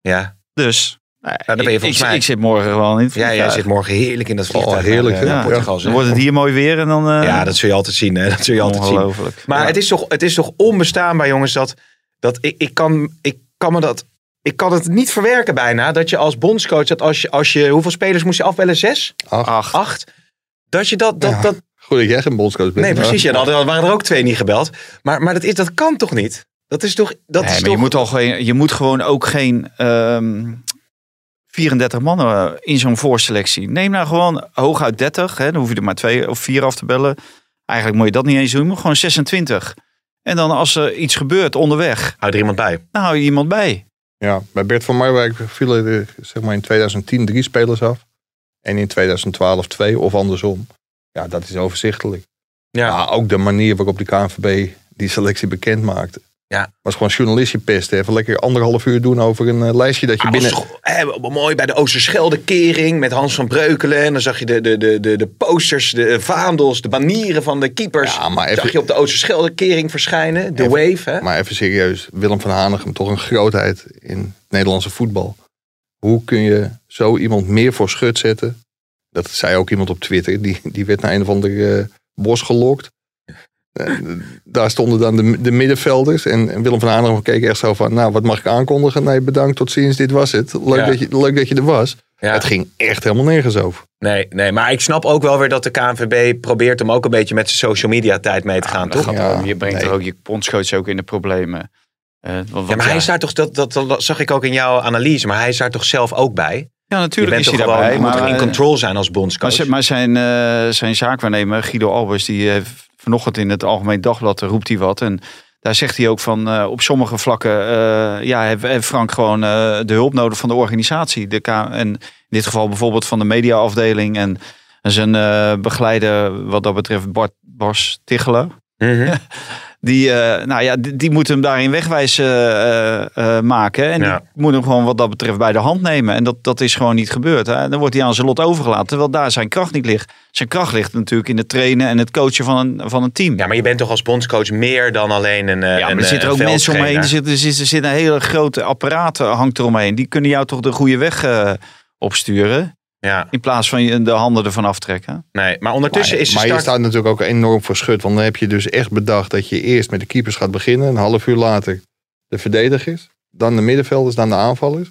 B: ja.
C: Dus
B: dan ben je
C: ik-
B: volgens
C: ik,
B: mij-
C: ik zit morgen gewoon in het
B: ja, jij
C: vliegtuig.
B: zit morgen heerlijk in dat vliegtuig.
D: heerlijk,
B: naar, eh,
C: ja.
B: naar Portugal,
C: Dan
B: zeg.
C: wordt het hier mooi weer en dan... eh,
B: Ja, dat zul je altijd zien. Hè? Dat zul je altijd zien.
C: ongelooflijk.
B: Maar
C: Ja.
B: het, is toch, het is toch onbestaanbaar, jongens, dat, dat ik, ik, kan, ik kan me dat. Ik kan het niet verwerken bijna. Dat je als bondscoach, dat als je, als je hoeveel spelers moest je afbellen? Zes?
D: Ach,
C: Acht.
B: Acht? Dat je dat. dat,
D: Ja.
B: dat
D: Goed dat jij geen bondscoach bent.
B: nee,
D: Ja.
B: precies. Ja, dan hadden- waren er ook twee niet gebeld. Maar, maar dat, is, dat kan toch niet? Dat is toch. Dat
C: Nee,
B: is
C: maar
B: toch
C: je, moet al geen, je moet gewoon ook geen ehm, 34 mannen eh, in zo'n voorselectie. Neem nou gewoon hooguit 30. Hè, dan hoef je er maar twee of vier af te bellen. Eigenlijk moet je dat niet eens doen. Je moet gewoon 26. En dan als er iets gebeurt onderweg,
B: Hou er iemand bij.
C: dan hou je iemand bij.
D: Ja, bij Bert van Marwijk vielen er zeg maar, in 2010 drie spelers af. En in 2012 twee of andersom. Ja, dat is overzichtelijk.
B: Ja.
D: Ja. ook de manier waarop de KNVB die selectie bekend maakte.
B: Ja.
D: Was gewoon journalistje pesten. Even lekker anderhalf uur doen over een eh, lijstje dat je
B: Ah, was
D: binnen...
B: toch, hè, mooi bij de Oosterschelde kering met Hans van Breukelen. En dan zag je de, de, de, de, de posters, de vaandels, de banieren van de keepers.
D: Ja, maar
B: Zag
D: even,
B: je op de Oosterschelde kering verschijnen. De
D: Even-
B: wave, hè?
D: Maar even serieus, Willem van Hanegem, toch een grootheid in het Nederlandse voetbal. Hoe kun je zo iemand meer voor schut zetten? Dat zei ook iemand op Twitter, die, die werd naar een of ander eh, bos gelokt. Eh, daar stonden dan de, de middenvelders. En, en Willem van Hanegem keek echt zo van, nou, wat mag ik aankondigen? Nee, bedankt, tot ziens, dit was het. Leuk,
B: Ja.
D: dat, je, leuk dat je er was.
B: Ja.
D: Het ging echt helemaal nergens over.
B: Nee, nee, maar ik snap ook wel weer dat de KNVB probeert hem ook een beetje met zijn social media tijd mee
C: Ah,
B: te gaan, toch?
D: gaat- Ja,
C: je brengt
D: nee.
C: er ook je bondscoach ook in de problemen. Eh, want- want
B: Ja, maar hij is daar toch, dat, dat, dat zag ik ook in jouw analyse, maar hij is daar toch zelf ook bij?
C: ja,
B: Je
C: natuurlijk
B: bent
C: is
B: toch
C: hij
B: gewoon,
C: daarbij.
B: je moet toch
C: Maar,
B: in
C: eh,
B: control zijn als
C: Maar,
B: bondscoach?
C: zijn- maar zijn, eh, zijn zaakwaarnemer Guido Albers, die heeft vanochtend in het Algemeen Dagblad eh, roept hij wat. En daar zegt hij ook van, eh, op sommige vlakken eh, ja, heeft, heeft Frank gewoon eh, de hulp nodig van de organisatie. De K en in dit geval bijvoorbeeld van de mediaafdeling en En zijn eh, begeleider, wat dat betreft, Bart Bas Tichelen.
B: Mhm.
C: Die, eh, nou ja, die, die moet hem daarin wegwijs eh, eh, eh, maken. En
B: Ja.
C: die moet hem gewoon wat dat betreft bij de hand nemen. En dat, dat is gewoon niet gebeurd. Hè? Dan wordt hij aan zijn lot overgelaten, terwijl daar zijn kracht niet ligt. Zijn kracht ligt natuurlijk in het trainen en het coachen van een, van een team.
B: Ja, maar eh, je bent toch als bondscoach meer dan alleen een.
C: Ja, maar er zitten ook mensen omheen. Er zit, er, zit, er zit een hele grote apparaat eh, hangt eromheen. Die kunnen jou toch de goede weg eh, opsturen.
B: Ja,
C: In plaats van je de handen ervan aftrekken.
B: nee. Maar ondertussen
D: maar,
B: is de
D: maar
B: start.
D: je staat natuurlijk ook enorm voor schut. Want dan heb je dus echt bedacht dat je eerst met de keepers gaat beginnen. Een half uur later de verdedigers. Dan de middenvelders, dan de aanvallers.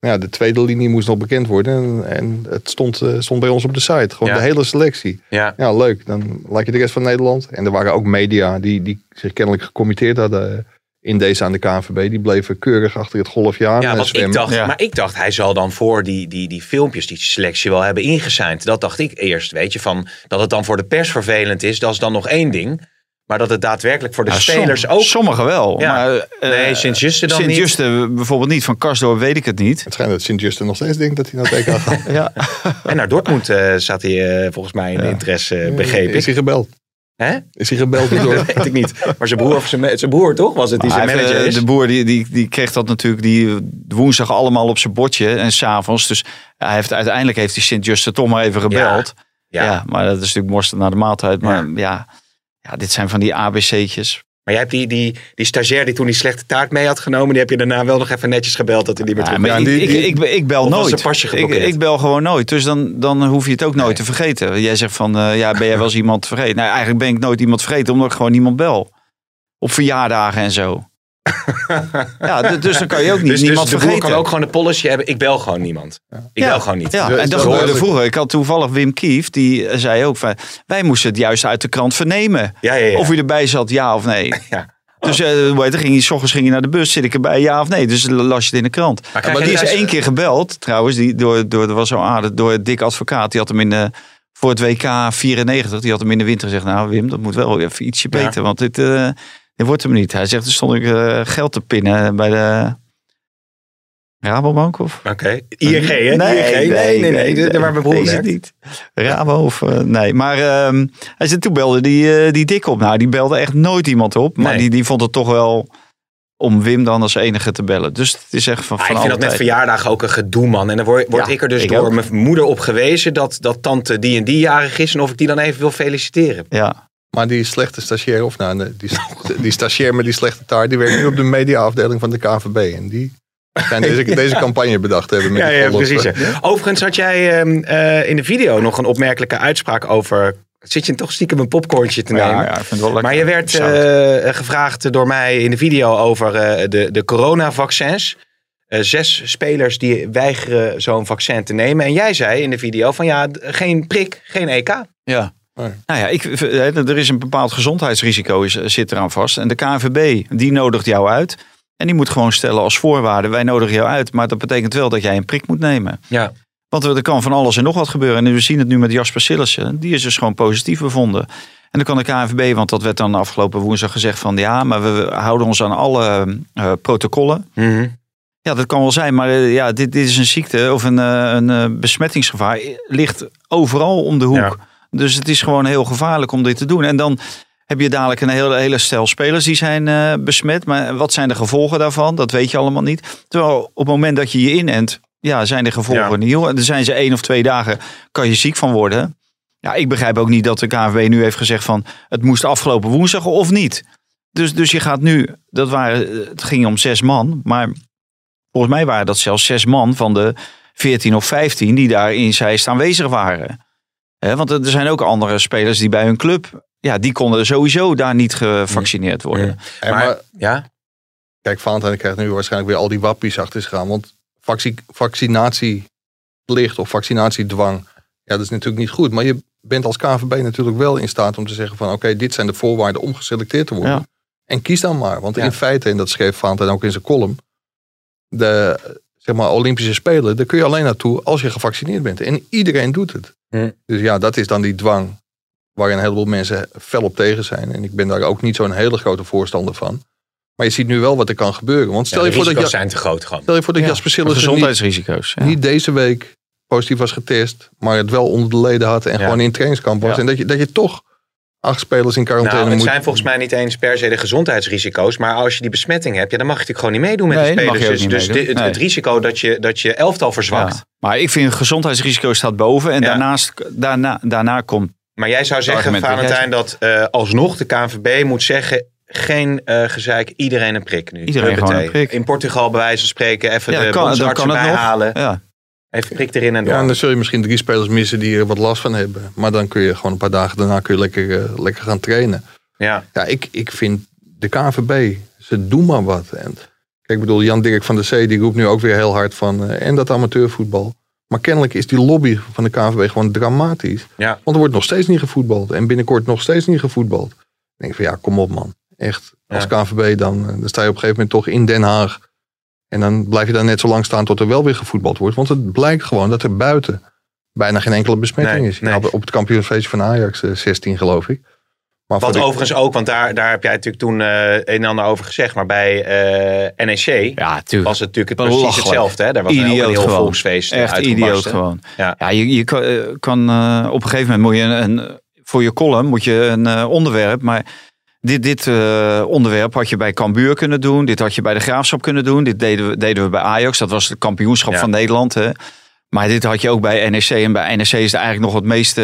D: Nou Ja, de tweede linie moest nog bekend worden. En, en het stond, eh, stond bij ons op de site. Gewoon
B: Ja.
D: de hele selectie.
B: Ja.
D: Ja, leuk. Dan laat je de rest van Nederland. En er waren ook media die, die zich kennelijk gecommitteerd hadden eh, in deze aan de KNVB. Die bleven keurig achter het golfje aan
B: Ja,
D: eh,
B: want ik
D: zwemmen.
B: dacht,
C: Ja.
B: maar ik dacht, hij zal dan voor die, die, die filmpjes, die selectie wel hebben ingeseind. Dat dacht ik eerst, weet je, van dat het dan voor de pers vervelend is, dat is dan nog één ding. Maar dat het daadwerkelijk voor de
C: Nou,
B: spelers
C: som-
B: ook...
C: Sommigen wel.
B: Ja.
C: Maar, eh,
B: nee, Sint-Justen dan
C: Sint
B: niet.
C: Juste bijvoorbeeld niet. Van Karsdorp weet ik het niet.
D: Het schijnt dat Sint-Justin nog steeds denkt dat hij naar het EK gaat.
C: Ja.
B: En naar Dortmund eh, zat hij eh, volgens mij in interesse, eh, <laughs> begreep
D: Is
B: ik.
D: hij gebeld?
B: Hè?
D: Is hij
B: <laughs>
D: gebeld
B: Dat
D: door...
B: weet ik niet. Maar zijn broer, of zijn, me- zijn broer toch, was het die zijn
C: Maar hij heeft,
B: manager
C: eh,
B: is?
C: De boer die, die, die kreeg dat natuurlijk die woensdag allemaal op zijn bordje. En s'avonds. Dus hij heeft, uiteindelijk heeft hij Sint-Juste toch maar even gebeld. Ja.
B: Ja.
C: maar dat is natuurlijk morsten naar de maaltijd. Maar ja. Ja, dit zijn van die ABC'tjes.
B: Maar jij hebt die, die, die stagiair die toen die slechte taart mee had genomen, die heb je daarna wel nog even netjes gebeld dat hij niet meer
C: Ja,
B: terug
C: maar
D: Ja,
C: ik,
D: die-
C: ik,
D: die-
C: ik, ik bel
B: Of was
C: nooit.
B: zijn pasje
C: ik,
B: geblokkeerd?
C: ik bel gewoon nooit. Dus dan, dan hoef je het ook nooit te vergeten. Jij zegt van, eh, ja, ben jij wel eens iemand vergeten? Nou, eigenlijk ben ik nooit iemand vergeten, omdat ik gewoon niemand bel. Op verjaardagen en
B: <laughs>
C: zo. ja, d- dus dan kan je ook niet
B: Dus, dus
C: niemand
B: de broer
C: vergeten.
B: kan ook gewoon de policy hebben. Ik bel gewoon niemand. Ik
C: Ja.
B: bel gewoon niet.
C: Ja,
D: Dus
C: en dat
D: dat
C: gebeurde
D: duidelijk.
C: vroeger. Ik had toevallig Wim Kief, die eh, zei ook van... wij moesten het juist uit de krant vernemen.
B: Ja, ja, ja.
C: Of hij erbij zat, ja of nee.
B: <laughs> Ja.
C: Dus eh, hoe heet het, ging hij, s ochtends ging hij naar de bus, zit ik erbij, ja of nee. Dus dan las je het in de krant. Maar,
B: krijg je
C: die is
B: thuis-
C: één keer gebeld, trouwens, die, door, door, dat was zo aardig, door Dick Advocaat. Die had hem in de, voor het WK 94, die had hem in de winter gezegd... nou Wim, dat moet wel even ietsje
B: Ja.
C: beter, want dit, eh, dit wordt hem niet. Hij zegt, toen stond ik eh, geld te pinnen bij de... Rabobank of
B: Oké. ING, hè? ING. Waar mijn broer
C: Deze
B: werkt.
C: niet. Rabo of... eh, nee, maar ehm, hij zei, toen belde die, eh, die dik op. Nou, die belde echt nooit iemand op. Maar
B: Nee.
C: die, die vond het toch wel om Wim dan als enige te bellen. Dus het is echt van,
B: Ah,
C: van
B: ik vind dat
C: alle
B: met
C: tijden.
B: verjaardagen ook een gedoe, man. En dan word, word
C: Ja,
B: ik er dus
C: ik
B: door
C: ook.
B: mijn moeder op gewezen dat, dat tante die en die jarig is. En of ik die dan even wil feliciteren.
C: Ja,
D: Maar die slechte stagiair, of nou, nee, die, die stagiair met die slechte taart, die werkt nu op de mediaafdeling van de KVB. En die
B: <laughs>
D: zijn deze, deze campagne bedacht te hebben. Met
B: Ja,
D: die
B: ja,
D: volgers.
B: precies. hè. Overigens had jij ehm, eh, in de video nog een opmerkelijke uitspraak over... Zit je toch stiekem een popcornje te nemen?
C: ja, ja, ik vind het wel lekker.
B: Maar je werd
C: Zout.
B: eh, gevraagd door mij in de video over eh, de, de coronavaccins. Eh, zes spelers die weigeren zo'n vaccin te nemen. En jij zei in de video van ja, d- geen prik, geen EK.
C: Ja.
D: Maar-
C: Nou ja, ik, hè, er is een bepaald gezondheidsrisico is, eh, zit eraan vast. En de KNVB, die nodigt jou uit. En die moet gewoon stellen als voorwaarde, wij nodigen jou uit. Maar dat betekent wel dat jij een prik moet nemen.
B: Ja.
C: Want er kan van alles en nog wat gebeuren. En we zien het nu met Jasper Sillissen. Die is dus gewoon positief bevonden. En dan kan de KNVB, want dat werd dan afgelopen woensdag gezegd van... ja, maar we houden ons aan alle eh, protocollen. Ja, dat kan wel zijn, maar eh, ja, dit, dit is een ziekte of een, eh, een eh, besmettingsgevaar. eh, Ligt overal om de hoek.
B: Ja.
C: Dus het is gewoon heel gevaarlijk om dit te doen. En dan heb je dadelijk een hele, hele stel spelers die zijn eh, besmet. Maar wat zijn de gevolgen daarvan? Dat weet je allemaal niet. Terwijl op het moment dat je je inent, ja, zijn de gevolgen
B: Ja.
C: nieuw. En dan zijn ze één of twee dagen, kan je ziek van worden. Ja, ik begrijp ook niet dat de KNVB nu heeft gezegd van... het moest afgelopen woensdag of niet. Dus, dus je gaat nu, dat waren, eh, het ging om zes man, maar volgens mij waren dat zelfs zes man van de 14 of 15 die daar in Zeist aanwezig waren. Hè, want er er zijn ook andere spelers die bij hun club, ja, die konden sowieso daar niet gevaccineerd worden.
D: En
B: Maar-
D: maar,
B: Ja?
D: kijk, Valentijn krijgt nu waarschijnlijk weer al die wappies achter zich aan. Want vaccin, vaccinatieplicht of vaccinatiedwang, ja, dat is natuurlijk niet goed. Maar je bent als KVB natuurlijk wel in staat om te zeggen van... oké, dit zijn de voorwaarden om geselecteerd te worden.
C: Ja.
D: En kies dan maar. Want
B: Ja.
D: in feite, en dat schreef Valentijn ook in zijn column... de zeg maar, Olympische Spelen, daar kun je alleen naartoe als je gevaccineerd bent. En iedereen doet het.
B: Hm.
D: Dus ja, dat is dan die dwang waar een heleboel mensen fel op tegen zijn. En ik ben daar ook niet zo'n hele grote voorstander van. Maar je ziet nu wel wat er kan gebeuren. Want stel,
B: Ja,
D: je,
B: de
D: voor dat
B: risico's
D: Ja-
B: zijn te groot gewoon.
D: stel je voor dat
C: Ja,
D: Jasper Sillissen niet,
C: Gezondheidsrisico's. Ja.
D: niet deze week positief was getest, maar het wel onder de leden had en
B: Ja.
D: gewoon in het trainingskamp was.
B: Ja.
D: En dat je, dat je toch acht spelers in quarantaine
B: Nou, het
D: moet.
B: zijn volgens mij niet eens per se de gezondheidsrisico's. Maar als je die besmetting hebt, ja, dan mag je natuurlijk gewoon niet meedoen met
C: Nee,
B: de
C: dan mag
B: spelers.
C: je ook
B: Dus,
C: niet
B: dus
C: meedoen.
B: dit- het,
C: Nee.
B: het risico dat je, dat je elftal verzwakt.
C: Ja. Maar ik vind gezondheidsrisico staat boven. En
B: Ja.
C: daarnaast, daarna, daarna komt...
B: Maar jij zou zeggen,
C: argument dat jij
B: Valentijn, dat eh, alsnog de KNVB moet zeggen... geen eh, gezeik, iedereen een prik nu.
C: Iedereen
B: Huppatee.
C: gewoon een prik.
B: In Portugal bij wijze van spreken even
C: Ja,
B: de
C: kan- dan
B: bondsarts
C: kan het
B: erbij halen.
C: nog. Ja.
B: Even prik erin en door.
D: Ja, en dan zul je misschien drie spelers missen die er wat last van hebben. Maar dan kun je gewoon een paar dagen daarna kun je lekker, eh, lekker gaan trainen.
B: ja.
D: Ja, ik, ik vind de KNVB, ze doen maar wat. En, kijk, ik bedoel, Jan-Dirk van der Zee die roept nu ook weer heel hard van... eh, en dat amateurvoetbal. Maar kennelijk is die lobby van de KNVB gewoon dramatisch.
B: Ja.
D: Want er wordt nog steeds niet gevoetbald. En binnenkort nog steeds niet gevoetbald. Ik denk van ja, kom op man. Echt, als KNVB dan, eh, dan sta je op een gegeven moment toch in Den Haag. En dan blijf je daar net zo lang staan tot er wel weer gevoetbald wordt. Want het blijkt gewoon dat er buiten bijna geen enkele besmetting
B: Nee,
D: is.
B: nee.
D: Ja, op- op het kampioensfeestje van Ajax, eh, 16 geloof ik. Maar voor
B: Wat
D: de-
B: overigens ook, want daar, daar heb jij natuurlijk toen eh, een en ander over gezegd. Maar bij eh NEC
C: Ja, tuurlijk.
B: was het natuurlijk precies
C: Belachelijk.
B: hetzelfde. Hè? Daar was ook een
C: Idioot
B: heel
C: gewoon.
B: volksfeest eh,
C: Echt
B: uitgebarsten.
C: idioot gewoon.
B: Ja.
C: Ja, je, je kan, eh, kan eh, op een gegeven moment moet je een, een- voor je column moet je een eh, onderwerp, maar dit, dit eh, onderwerp had je bij Cambuur kunnen doen, dit had je bij de Graafschap kunnen doen, dit deden we, deden we bij Ajax, dat was het kampioenschap
B: Ja.
C: van Nederland. Hè. Maar dit had je ook bij NEC en bij NEC is het eigenlijk nog het meeste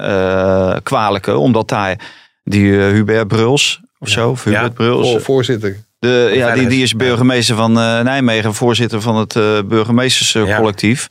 C: eh, kwalijke, omdat daar die eh, Hubert Bruls of zo, of Hubert
B: Ja.
C: Bruls,
D: voor- voorzitter.
C: de, ja, die,
B: Verder.
C: die is burgemeester van eh, Nijmegen, voorzitter van het eh, burgemeesterscollectief.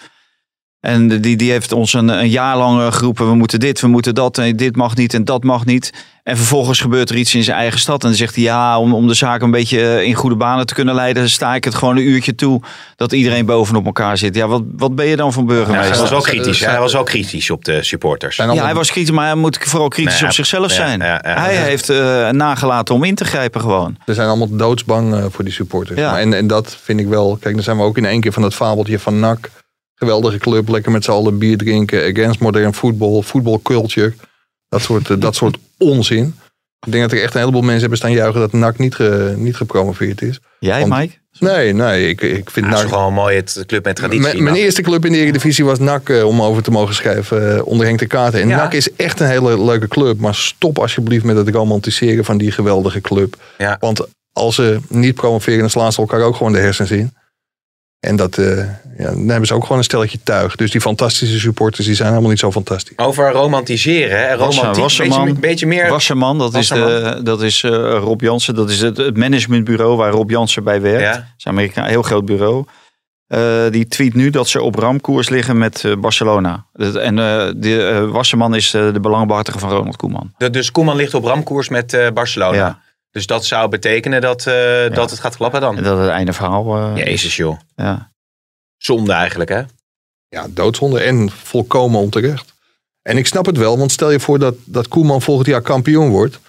C: En de- die, die heeft ons een, een jaar lang eh, geroepen, we moeten dit, we moeten dat, en dit mag niet en dat mag niet. En vervolgens gebeurt er iets in zijn eigen stad en dan zegt hij ja, om, om de zaak een beetje eh, in goede banen te kunnen leiden, sta ik het gewoon een uurtje toe dat iedereen bovenop elkaar zit. Ja, wat, wat ben je dan voor
B: Ja, hij
C: burgemeester?
B: was wel
D: Ja,
B: kritisch.
D: ja,
B: Hij was wel kritisch op de supporters.
D: Zijn
C: Ja,
D: allemaal-
C: hij was kritisch, maar hij moet vooral kritisch
B: Nee,
C: op zichzelf
B: ja,
C: zijn.
B: ja, ja.
C: hij heeft eh, nagelaten om in te grijpen gewoon.
D: Ze zijn allemaal doodsbang eh, voor die supporters.
C: Ja.
D: Maar en, en dat vind ik wel. Kijk, dan zijn we ook in één keer van dat fabeltje van NAC. Geweldige club, lekker met z'n allen bier drinken. Against modern voetbal, voetbalculture. Dat soort, eh,
B: <laughs>
D: dat soort onzin. Ik denk dat er echt een heleboel mensen hebben staan juichen dat NAC niet, ge- niet gepromoveerd is.
C: Jij,
D: Want-
C: Mike?
D: Nee, nee, ik, ik vind
B: Nou, dat
D: NAC...
B: is gewoon mooi, het club met traditie.
D: Mijn- Mijn
B: Nou,
D: eerste club in de Eredivisie was NAC, eh, om over te mogen schrijven, eh, onder Henk de Kaarten. En
B: Ja.
D: NAC is echt een hele leuke club, maar stop alsjeblieft met het romantiseren van die geweldige club.
B: Ja.
D: Want als ze niet promoveren, dan slaan ze elkaar ook gewoon de hersens in. En dat, eh, ja, dan hebben ze ook gewoon een stelletje tuig. Dus die fantastische supporters, die zijn helemaal niet zo fantastisch.
B: Over romantiseren. Hè?
C: Wasser-
B: Romantiek,
C: Wasserman.
B: beetje, beetje meer...
C: Wasserman, dat is, de,
B: Wasserman.
C: dat is eh, Rob Jansen. Dat is het, het managementbureau waar Rob Jansen bij werkt.
B: Ja.
C: Dat is een Amerika, een heel groot bureau. Eh, die tweet nu dat ze op ramkoers liggen met eh, Barcelona. Dat- en eh, de, eh, Wasserman is eh, de belangbehartiger van Ronald Koeman.
B: De- Dus Koeman ligt op ramkoers met eh, Barcelona.
C: Ja.
B: Dus dat zou betekenen dat, eh, dat het gaat klappen
C: En
B: dan.
C: dat het einde verhaal eh,
B: Jezus joh.
C: Ja.
B: Zonde eigenlijk hè.
D: Ja, doodzonde en volkomen onterecht. En ik snap het wel, want stel je voor dat, dat Koeman volgend jaar kampioen wordt.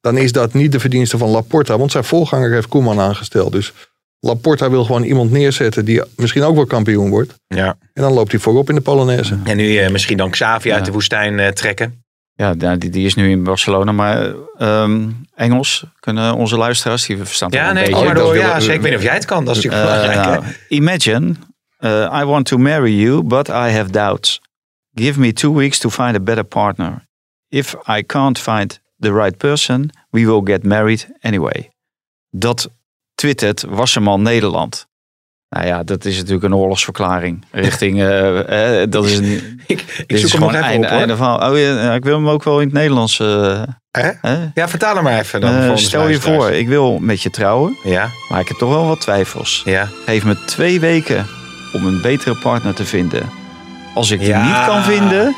D: Dan is dat niet de verdienste van Laporta, want zijn voorganger heeft Koeman aangesteld. Dus Laporta wil gewoon iemand neerzetten die misschien ook wel kampioen wordt.
B: Ja.
D: En dan loopt hij voorop in de Polonaise.
B: En nu eh, misschien dan Xavi
C: Ja.
B: uit de woestijn eh, trekken.
C: Ja, nou, die, die is nu in Barcelona. Maar ehm, Engels kunnen onze luisteraars, die verstaan toch
B: Ja,
C: een
B: nee,
C: beetje.
B: maar
D: dat
B: door,
D: wil-
B: ja, zeker. Ik weet niet of jij het kan. Dat is natuurlijk
C: Eh,
B: belangrijk. hè.
C: nou, imagine, uh, I want to marry you, but I have doubts. Give me two weeks to find a better partner. If I can't find the right person, we will get married anyway. Dat twittert Wasserman Nederland. Nou ja, dat is natuurlijk een oorlogsverklaring richting. eh, eh, dat is een,
B: Ik, ik zoek
C: dit is
B: hem nog
C: gewoon
B: even
C: einde,
B: op hoor.
C: einde van. Oh ja, ik wil hem ook wel in het Nederlands. eh,
B: Hè?
C: hè?
B: Ja, vertaal hem maar even. Dan,
C: Eh,
B: voor onze
C: stel je
B: luisteraars.
C: voor, ik wil met je trouwen,
B: Ja,
C: maar ik heb toch wel wat twijfels.
B: ja.
C: Geef me twee weken om een betere partner te vinden. Als ik die
B: Ja.
C: niet kan vinden,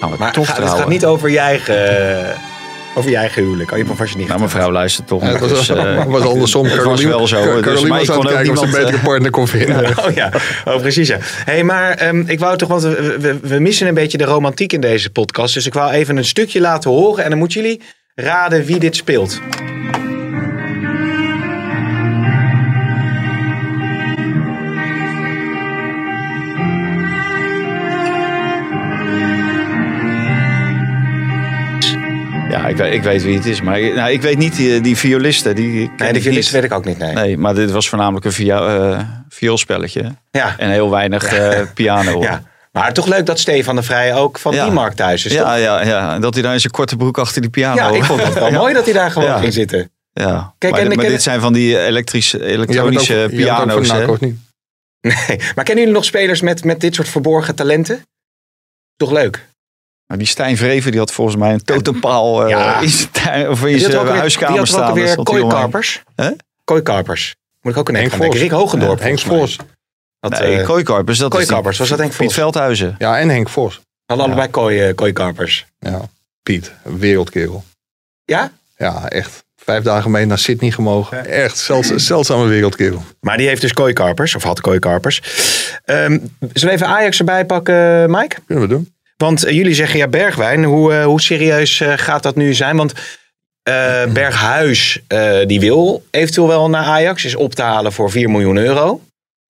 C: gaan we
B: Maar
C: toch
B: ga- het
C: trouwen.
B: gaat niet over je eigen, over je eigen huwelijk. Oh, je was je niet.
C: Nou, mevrouw luistert toch.
D: Ja, het was, <laughs>
C: dus,
B: <laughs>
C: eh,
D: was andersom.
C: het was
D: Caroline,
C: wel zo.
D: Caroline
C: dus, maar ik
D: was aan
C: kon
D: het
C: ook
D: kijken of ze
C: niemand,
D: een betere
C: eh,
D: partner kon <laughs>
B: <laughs>
D: vinden.
B: Oh ja, oh, precies ja. hey, maar ehm, ik wou toch, want we, we, we missen een beetje de romantiek in deze podcast. Dus ik wou even een stukje laten horen en dan moeten jullie raden wie dit speelt.
C: Ja, ik, weet- ik weet wie het is. Maar nou, ik weet niet die, die violisten. Die ken
B: Nee, de
C: ik niet.
B: violist weet ik ook niet, nee.
C: Nee, maar dit was voornamelijk een via, eh, vioolspelletje.
B: Ja,
C: En heel weinig eh, piano. hoor.
B: <laughs> ja. Maar toch leuk dat Stefan de Vrij ook van
C: Ja.
B: die markt thuis is. toch?
C: Ja, ja, ja. En Dat hij daar in zijn korte broek achter die piano...
B: Ja, ik vond het wel mooi dat hij daar gewoon
C: <laughs> Ja.
B: ging zitten.
C: Ja.
B: Kijk,
C: maar
B: en-
C: maar
B: en-
C: dit zijn van die elektrische,
D: Jij bent ook-
C: elektronische
D: jij bent ook van
C: piano's.
D: NAC,
C: hè?
D: of niet?
B: Nee. Maar kennen jullie nog spelers met, met dit soort verborgen talenten? Toch leuk.
C: Maar die Stijn Vreven die had volgens mij een totempaal eh,
B: Ja.
C: in zijn, tuin, of in
B: Die had
C: zijn
B: ook weer-
C: eh, huiskamer
B: die had ook
C: staan. Daar
B: weer
C: stond hij omheen.
B: kooikarpers.
C: Hè?
B: Kooikarpers. Moet ik ook een
D: Henk
B: Henk aan denken.
D: Vos.
B: Rick Hogendorp.
D: Henk
B: volgens mij.
D: Vos.
B: Had,
C: Nee,
B: eh,
C: kooikarpers. Dat
B: kooikarpers,
C: is die-
B: was dat Henk
C: Piet
B: Vos?
C: Veldhuizen.
D: Ja, en Henk Vos.
B: hadden allebei kooi, eh, kooikarpers.
D: Ja, Piet, een wereldkerel.
B: Ja?
D: Ja, echt. Vijf dagen mee naar Sydney gemogen. Echt, zeldz- zeldzame wereldkerel.
B: Maar die heeft dus kooikarpers. Of had kooikarpers. Ehm zullen we even Ajax erbij pakken, Mike?
D: Kunnen we doen.
B: Want eh, jullie zeggen ja, Bergwijn. Hoe, eh, hoe serieus eh, gaat dat nu zijn? Want eh, Berghuis eh, die wil eventueel wel naar Ajax. Is op te halen voor 4 miljoen euro.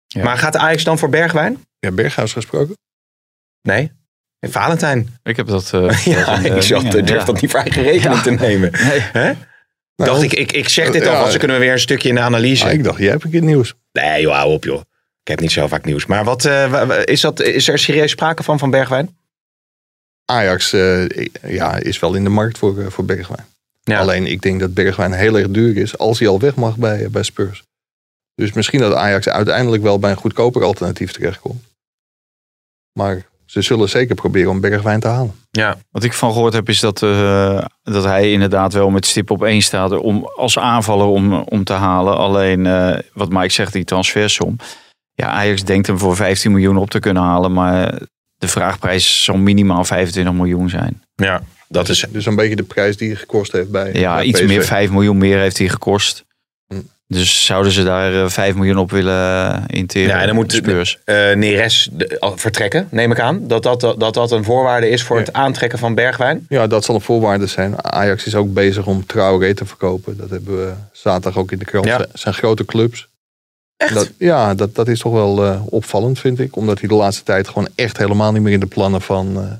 C: Ja.
B: Maar gaat Ajax dan voor Bergwijn?
D: Ja, Berghuis gesproken.
B: Nee. En Valentijn.
C: Ik heb dat...
B: <laughs>
C: eh,
B: Ja,
C: dat in, eh,
B: ik zat,
C: dingen,
B: durf
C: ja.
B: dat niet voor eigen rekening
C: Ja.
B: te nemen.
C: Nee.
B: Hè?
D: Nou,
B: dacht ik, ik, ik zeg dit
D: Ja.
B: alvast. Dan kunnen we weer een stukje in de analyse.
D: ah, ik dacht, jij hebt een keer het nieuws.
B: Nee joh, hou op joh. Ik heb niet zo vaak nieuws. Maar wat, eh, wa- wa- is, dat, is er serieus sprake van, van Bergwijn?
D: Ajax eh, ja, is wel in de markt voor, eh, voor Bergwijn.
B: Ja.
D: Alleen ik denk dat Bergwijn heel erg duur is als hij al weg mag bij, eh, bij Spurs. Dus misschien dat Ajax uiteindelijk wel bij een goedkoper alternatief terechtkomt. Maar ze zullen zeker proberen om Bergwijn te halen.
B: Ja.
C: Wat ik van gehoord heb is dat, eh, dat hij inderdaad wel met stip op één staat om, als aanvaller om, om te halen. Alleen eh, wat Mike zegt, die transfersom. Ja, Ajax denkt hem voor 15 miljoen op te kunnen halen, maar de vraagprijs zal minimaal 25 miljoen zijn.
B: ja, dat is...
D: Dus een beetje de prijs die hij gekost heeft bij
C: Ja,
D: bij
C: iets
D: PSV.
C: meer, 5 miljoen meer heeft hij gekost.
D: Hm.
C: Dus zouden ze daar eh, 5 miljoen op willen eh, interen?
B: Ja, en dan moet-
C: Spurs.
B: eh Neres de- al- vertrekken, neem ik aan. Dat dat, dat, dat een voorwaarde is voor
D: Ja.
B: het aantrekken van Bergwijn.
D: Ja, dat zal een voorwaarde zijn. Ajax is ook bezig om Traoré te verkopen. Dat hebben we zaterdag ook in de krant.
B: Ja.
D: Dat zijn grote clubs. Dat, ja, dat, dat is toch wel eh, opvallend, vind ik. Omdat hij de laatste tijd gewoon echt helemaal niet meer in de plannen van, eh,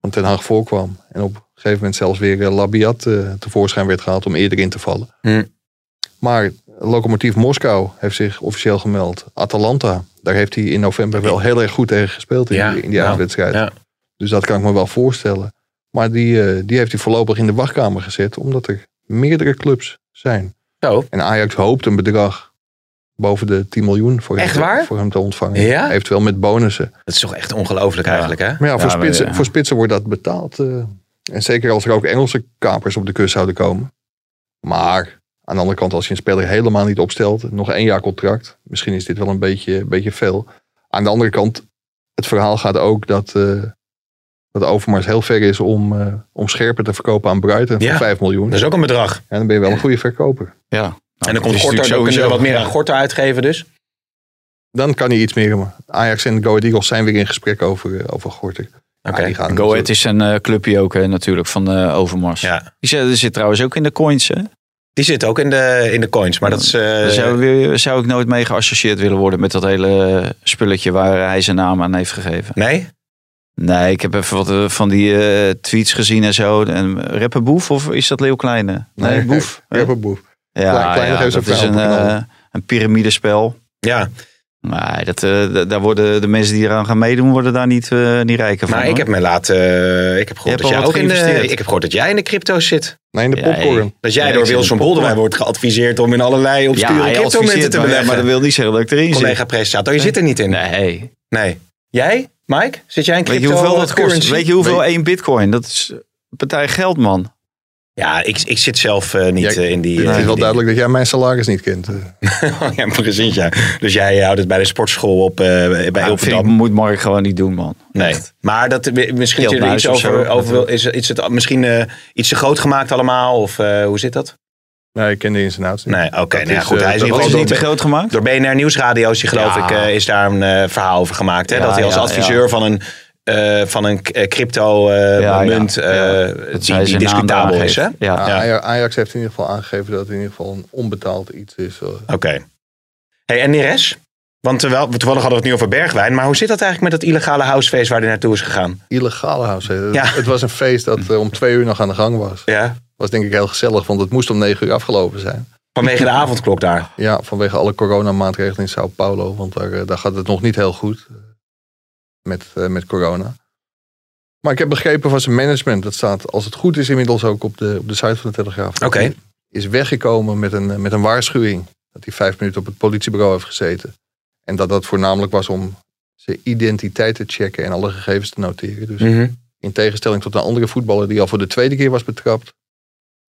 D: van Ten Haag voorkwam. En op een gegeven moment zelfs weer eh, Labiat eh, tevoorschijn werd gehaald om eerder in te vallen.
B: Hm.
D: Maar Lokomotief Moskou heeft zich officieel gemeld. Atalanta, daar heeft hij in november wel heel erg goed tegen gespeeld in
B: Ja, nou,
D: die, in die
B: ja,
D: uitwedstrijd.
B: ja.
D: Dus dat kan ik me wel voorstellen. Maar die, eh, die heeft hij voorlopig in de wachtkamer gezet, omdat er meerdere clubs zijn.
B: Zo.
D: En Ajax hoopt een bedrag boven de 10 miljoen voor,
B: Echt
D: hem, te-
B: waar?
D: voor hem te ontvangen.
B: Ja?
D: Eventueel met bonussen.
B: Dat is toch echt ongelooflijk
C: Ja.
B: eigenlijk, hè?
D: Maar ja, voor,
C: maar eh,
D: spitsen,
C: ja.
D: voor spitsen wordt dat betaald. eh. en zeker als er ook Engelse kapers op de kust zouden komen. Maar aan de andere kant, als je een speler helemaal niet opstelt, nog één jaar contract. Misschien is dit wel een beetje, beetje veel. Aan de andere kant, het verhaal gaat ook dat, eh, dat Overmars heel ver is om, eh, om scherpen te verkopen aan Bruiten
B: Ja.
D: voor 5 miljoen.
B: Dat
C: Dus-
B: is ook een bedrag.
D: Ja, dan ben je wel een goede verkoper.
C: Ja.
B: En
C: Nou,
B: dan
C: het
B: komt
C: is
B: Gorter, dan
C: natuurlijk
B: kunnen we wat
C: sowieso-
B: meer aan Gorter uitgeven dus.
D: Dan kan hij iets meer. Maar Ajax en Go Ahead Eagles zijn weer in gesprek over, eh, over Gorter.
B: Oké.
D: Ja, die gaan
C: Go Ahead is een eh, clubje ook hè, natuurlijk van eh, Overmars.
B: Ja. Eh,
C: Die zit, die zit trouwens ook in de coins hè?
B: Die zit ook in de, in de coins, maar dat is... eh,
C: Daar zou, weer- zou ik nooit mee geassocieerd willen worden met dat hele eh, spulletje waar hij zijn naam aan heeft gegeven.
B: Nee?
C: Nee, ik heb even wat eh, van die eh, tweets gezien en zo. En eh, rapper Boef of is dat Leeuw Kleine? Nee,
D: Nee,
C: Boef.
D: natuurlijk. Rapper Boef.
C: Ja,
D: Kleine
C: ja
D: geeft
C: dat
D: zijn
C: is een,
D: vrouw op een
C: eh, een piramidespel.
B: Ja,
C: Nee, dat, eh, d- daar worden de mensen die eraan gaan meedoen, worden daar niet, eh, niet rijker van.
B: maar ik
C: hoor.
B: heb me laten... eh, ik, heb
C: Je
B: gehoord
C: hebt
B: dat
C: al
B: jij
C: wat
B: ook in de,
C: geïnvesteerd.
B: ik heb gehoord dat jij in de crypto's zit.
D: Nee, in de
C: Ja,
D: popcorn.
C: hey.
B: Dat jij
C: Ja,
B: door
C: ik zit in
B: Wilson
C: de
B: Boldewijn wordt geadviseerd om in allerlei
C: ja,
B: obscure
C: hij
B: crypto-munten
C: adviseert
B: te
C: wel, ja,
B: beleggen.
C: maar dat wil niet zeggen dat ik erin zit.
B: collega presentator. Je zit er niet in.
C: Nee,
B: Nee. Jij, Mike? Zit jij in
C: weet
B: crypto
C: je hoeveel dat kost?
B: currency?
C: Weet je hoeveel één bitcoin? Dat is een partij geld, man.
B: Ja, ik, ik zit zelf eh, niet
D: Jij-
B: eh, in die... eh,
D: het is
B: in
D: wel
B: die <laughs>
D: duidelijk dat jij mijn salaris niet kent. eh.
B: dingen. ja, precies, ja. Dus jij houdt het bij de sportschool op eh, bij
C: Ja, Ah, vind ik,
B: Hilversum.
C: moet Mark gewoon niet doen, man.
B: Nee.
C: Echt.
B: Maar dat, eh, misschien
C: Heel
B: zit er iets
C: buis of zo,
B: over... over wil,
C: natuurlijk.
B: is, is het misschien eh, iets te groot gemaakt allemaal? Of eh, hoe zit dat?
D: Nee, ik ken de ins en outs niet.
B: Nee, oké.
D: Dat
B: nou ja,
D: is,
B: goed,
D: eh,
B: hij is in ieder
C: Was
D: dat was
C: het
B: geval
C: niet te
B: door,
C: groot gemaakt?
B: door BNR Nieuwsradio, is hij, geloof
C: Ja.
B: ik, eh, is daar een eh, verhaal over gemaakt. Hè?
C: Ja,
B: dat hij als
C: ja,
B: adviseur
C: ja.
B: van een, eh, van een crypto-munt
C: Ja, ja, ja.
B: eh, die, die discutabel is. Hè?
C: Ja.
D: Ja,
B: Ja.
D: Aj- Ah, Ajax heeft in ieder geval aangegeven dat het in ieder geval een onbetaald iets is. eh.
B: Oké. Hey, en Neres? Want eh, wel, toevallig hadden we het nu over Bergwijn. Maar hoe zit dat eigenlijk met dat illegale housefeest waar hij naartoe is gegaan?
D: Illegale house. hè. Het-
B: Ja.
D: Het was een feest dat eh, om twee uur nog aan de gang was.
B: Ja.
D: Was denk ik heel gezellig, want het moest om negen uur afgelopen zijn.
B: Vanwege de avondklok daar.
D: Ja, vanwege alle coronamaatregelen in Sao Paulo, want daar, eh, daar gaat het nog niet heel goed. eh, met, eh, met corona. Maar ik heb begrepen van zijn management, dat staat als het goed is inmiddels ook op de, op de site van de Telegraaf. dat
B: Oké.
D: hij Is weggekomen met een, eh, met een waarschuwing dat hij vijf minuten op het politiebureau heeft gezeten. En dat dat voornamelijk was om zijn identiteit te checken en alle gegevens te noteren. Dus
B: Mhm.
D: in tegenstelling tot een andere voetballer die al voor de tweede keer was betrapt.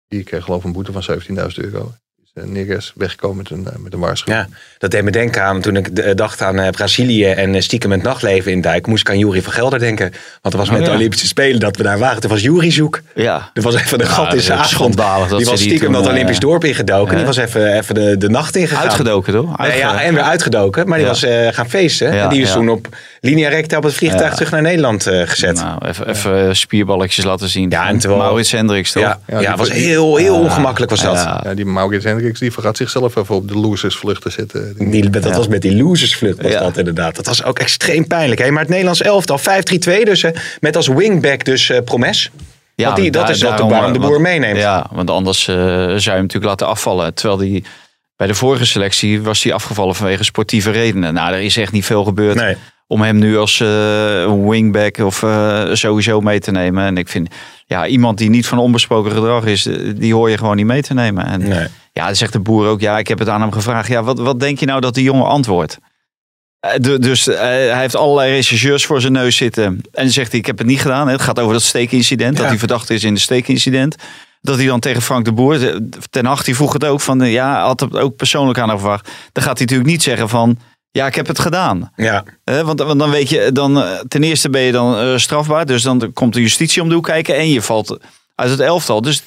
D: Die kreeg geloof ik een boete van 17.000 euro. Is eh, Neres weggekomen met een, eh, met een waarschuwing.
B: Ja, dat deed me denken aan toen ik eh, dacht aan eh, Brazilië en eh, stiekem het nachtleven in Dijk. Moest ik aan Jury van Gelder denken. Want dat was met de
C: Oh, ja.
B: Olympische Spelen dat we daar waren. Toen was Jury zoek.
C: Ja.
B: Er was even een gat in
C: dat
B: zijn
C: is
B: avond.
C: schandalig dat
B: Die
C: ze
B: was
C: die
B: stiekem
C: toen,
B: dat
C: eh,
B: Olympisch dorp ingedoken.
C: ja.
B: Die was even, even de, de nacht ingegaan.
C: Uitgedoken, toch?
B: Ja, ja, en weer uitgedoken. Maar die
C: Ja.
B: was eh, gaan feesten.
C: Ja,
B: en die is
C: ja.
B: toen op linea recta op het vliegtuig
C: Ja.
B: terug naar Nederland eh, gezet.
C: Nou, even, even eh, spierballetjes laten zien.
B: Ja, en
C: Van
B: terwijl-
C: Maurits Hendricks, toch?
B: ja, ja,
D: Ja, die-
B: was heel, heel ongemakkelijk was dat.
C: Ja.
D: Ja, die Maurits Hendricks die vergat zichzelf even op de losersvlucht te zetten. Die-
B: Die, dat
C: Ja.
B: was met die losersvlucht was
C: Ja.
B: dat inderdaad. Dat was ook extreem pijnlijk. Hè? Maar het Nederlands elftal, 5-3-2 dus. hè, met als wingback dus eh, Promes.
C: Ja,
B: Want die- dat is wat de
C: daarom- eh,
B: Bouw en de Boer
C: want-
B: meeneemt.
C: Ja, want anders eh, zou je hem natuurlijk laten afvallen. Terwijl die bij de vorige selectie was hij afgevallen vanwege sportieve redenen. Nou, er is echt niet veel gebeurd
B: Nee.
C: om hem nu als eh, wingback of eh, sowieso mee te nemen. En ik vind, ja, iemand die niet van onbesproken gedrag is, eh, die hoor je gewoon niet mee te nemen. En
B: Nee.
C: ja, dan zegt de boer ook, ja, ik heb het aan hem gevraagd. Ja, wat, wat denk je nou dat die jongen antwoordt? Eh, du- Dus eh, hij heeft allerlei rechercheurs voor zijn neus zitten. En dan zegt hij, ik heb het niet gedaan. hè. Het gaat over dat steekincident. Dat
B: Ja.
C: hij verdacht is in de steekincident. Dat hij dan tegen Frank de Boer... eh, Ten Hag die vroeg het ook van... eh, Ja, had het ook persoonlijk aan hem gevraagd. Dan gaat hij natuurlijk niet zeggen van... Ja, ik heb het gedaan.
B: Ja,
C: Hè, want, want dan weet je, dan, eh, ten eerste ben je dan eh, strafbaar. Dus dan komt de justitie om de hoek kijken en je valt uit het elftal. Dus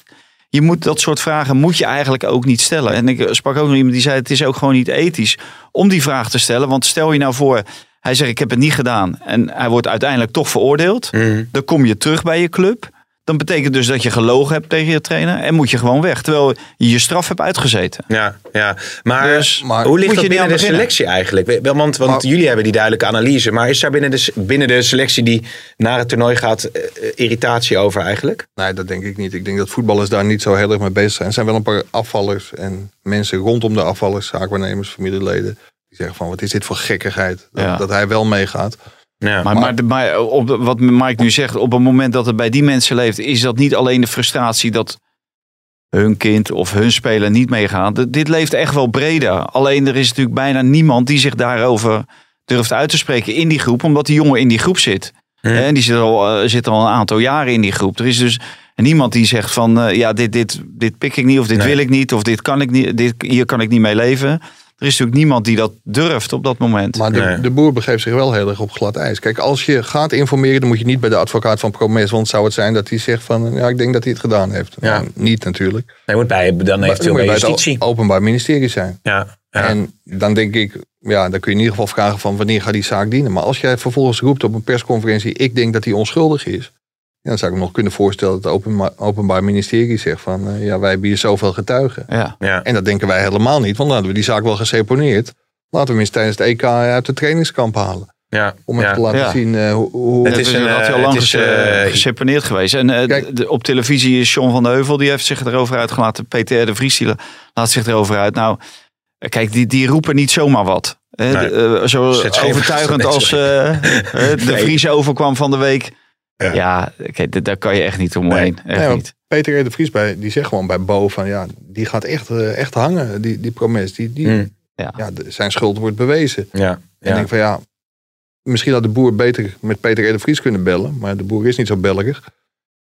C: je moet dat soort vragen moet je eigenlijk ook niet stellen. En ik eh, sprak ook nog iemand die zei: het is ook gewoon niet ethisch om die vraag te stellen. Want stel je nou voor, hij zegt: ik heb het niet gedaan. En hij wordt uiteindelijk toch veroordeeld. Dan kom je terug bij je club. Dan betekent dus dat je gelogen hebt tegen je trainer. En moet je gewoon weg. Terwijl je je straf hebt uitgezeten.
B: ja, ja. Maar,
C: Dus,
D: maar
B: hoe
D: moet
B: ligt
C: je
B: dat
C: niet
B: binnen
C: aan
B: de
C: beginnen?
B: selectie eigenlijk? We- wel, Want, want
D: Maar-
B: jullie hebben die duidelijke analyse. Maar is daar binnen de, s- binnen de selectie die naar het toernooi gaat eh, eh, irritatie over eigenlijk?
D: Nee, dat denk ik niet. Ik denk dat voetballers daar niet zo heel erg mee bezig zijn. Er zijn wel een paar afvallers en mensen rondom de afvallers, zaakwaarnemers, familieleden. Die zeggen van, wat is dit voor gekkigheid? Dat,
C: Ja.
D: dat hij wel meegaat.
B: Ja.
C: Maar, maar, de- maar eh, op, wat Mike nu zegt, op het moment dat het bij die mensen leeft, is dat niet alleen de frustratie dat hun kind of hun speler niet meegaan. D- Dit leeft echt wel breder. Alleen er is natuurlijk bijna niemand die zich daarover durft uit te spreken in die groep, omdat die jongen in die groep zit. Hè, En die zit al, eh, zit al een aantal jaren in die groep. Er is dus niemand die zegt van, eh, ja, dit, dit, dit pik ik niet, of dit
B: Nee.
C: wil ik niet, of dit kan ik niet, dit, hier kan ik niet mee leven. Er is natuurlijk niemand die dat durft op dat moment.
D: Maar de,
B: Nee.
D: de boer begeeft zich wel heel erg op glad ijs. Kijk, als je gaat informeren, dan moet je niet bij de advocaat van Promes. Want zou het zijn dat hij zegt van, ja, ik denk dat hij het gedaan heeft.
B: Ja.
D: Nou, niet natuurlijk.
B: Nee, moet bij, dan
D: Maar dan
B: eventueel
D: moet
B: bij
D: je bij het
B: justitie.
D: o- openbaar ministerie zijn.
B: Ja, ja.
D: En dan denk ik, ja, dan kun je in ieder geval vragen van wanneer gaat die zaak dienen. Maar als jij vervolgens roept op een persconferentie, ik denk dat hij onschuldig is. ja, dan zou ik me nog kunnen voorstellen dat het openma- openbaar ministerie zegt van, eh, ja, wij hebben hier zoveel getuigen.
C: ja.
B: ja.
D: En dat denken wij helemaal niet, want dan hadden we die zaak wel geseponeerd. Laten we hem eens tijdens het EK uit de trainingskamp halen.
B: ja.
D: Om even
B: ja.
D: te laten
C: Ja.
D: zien eh, hoe... hoe
B: Het
C: Het
B: is
C: is
B: een,
C: had
B: eh,
C: heel lang
B: het is,
C: gese-
B: eh,
C: geseponeerd geweest. En eh,
D: Kijk-
C: de- op televisie is John van de Heuvel, die heeft zich erover uitgelaten. PTR de Vries, die la- laat zich erover uit. Nou, eh, kijk, die, die roepen niet zomaar wat. Hè,
B: Nee.
C: de- eh, zo
B: Zet ze
C: overtuigend
B: even-
C: als eh, eh, de
B: <laughs> Nee.
C: Vries overkwam van de week.
B: Ja.
C: Ja, kijk, d- daar kan je echt niet omheen. Echt
D: Nee, want
C: niet.
D: Peter R. de Vries bij, die zegt gewoon bij Bo van ja, die gaat echt, eh, echt hangen, die, die promes. Die, die,
B: Hmm.
C: Ja.
D: Ja, de- zijn schuld wordt bewezen.
B: Ja,
D: En
B: ja.
D: ik denk van ja, misschien had de boer beter met Peter R. de Vries kunnen bellen. Maar de boer is niet zo <laughs> bellerig.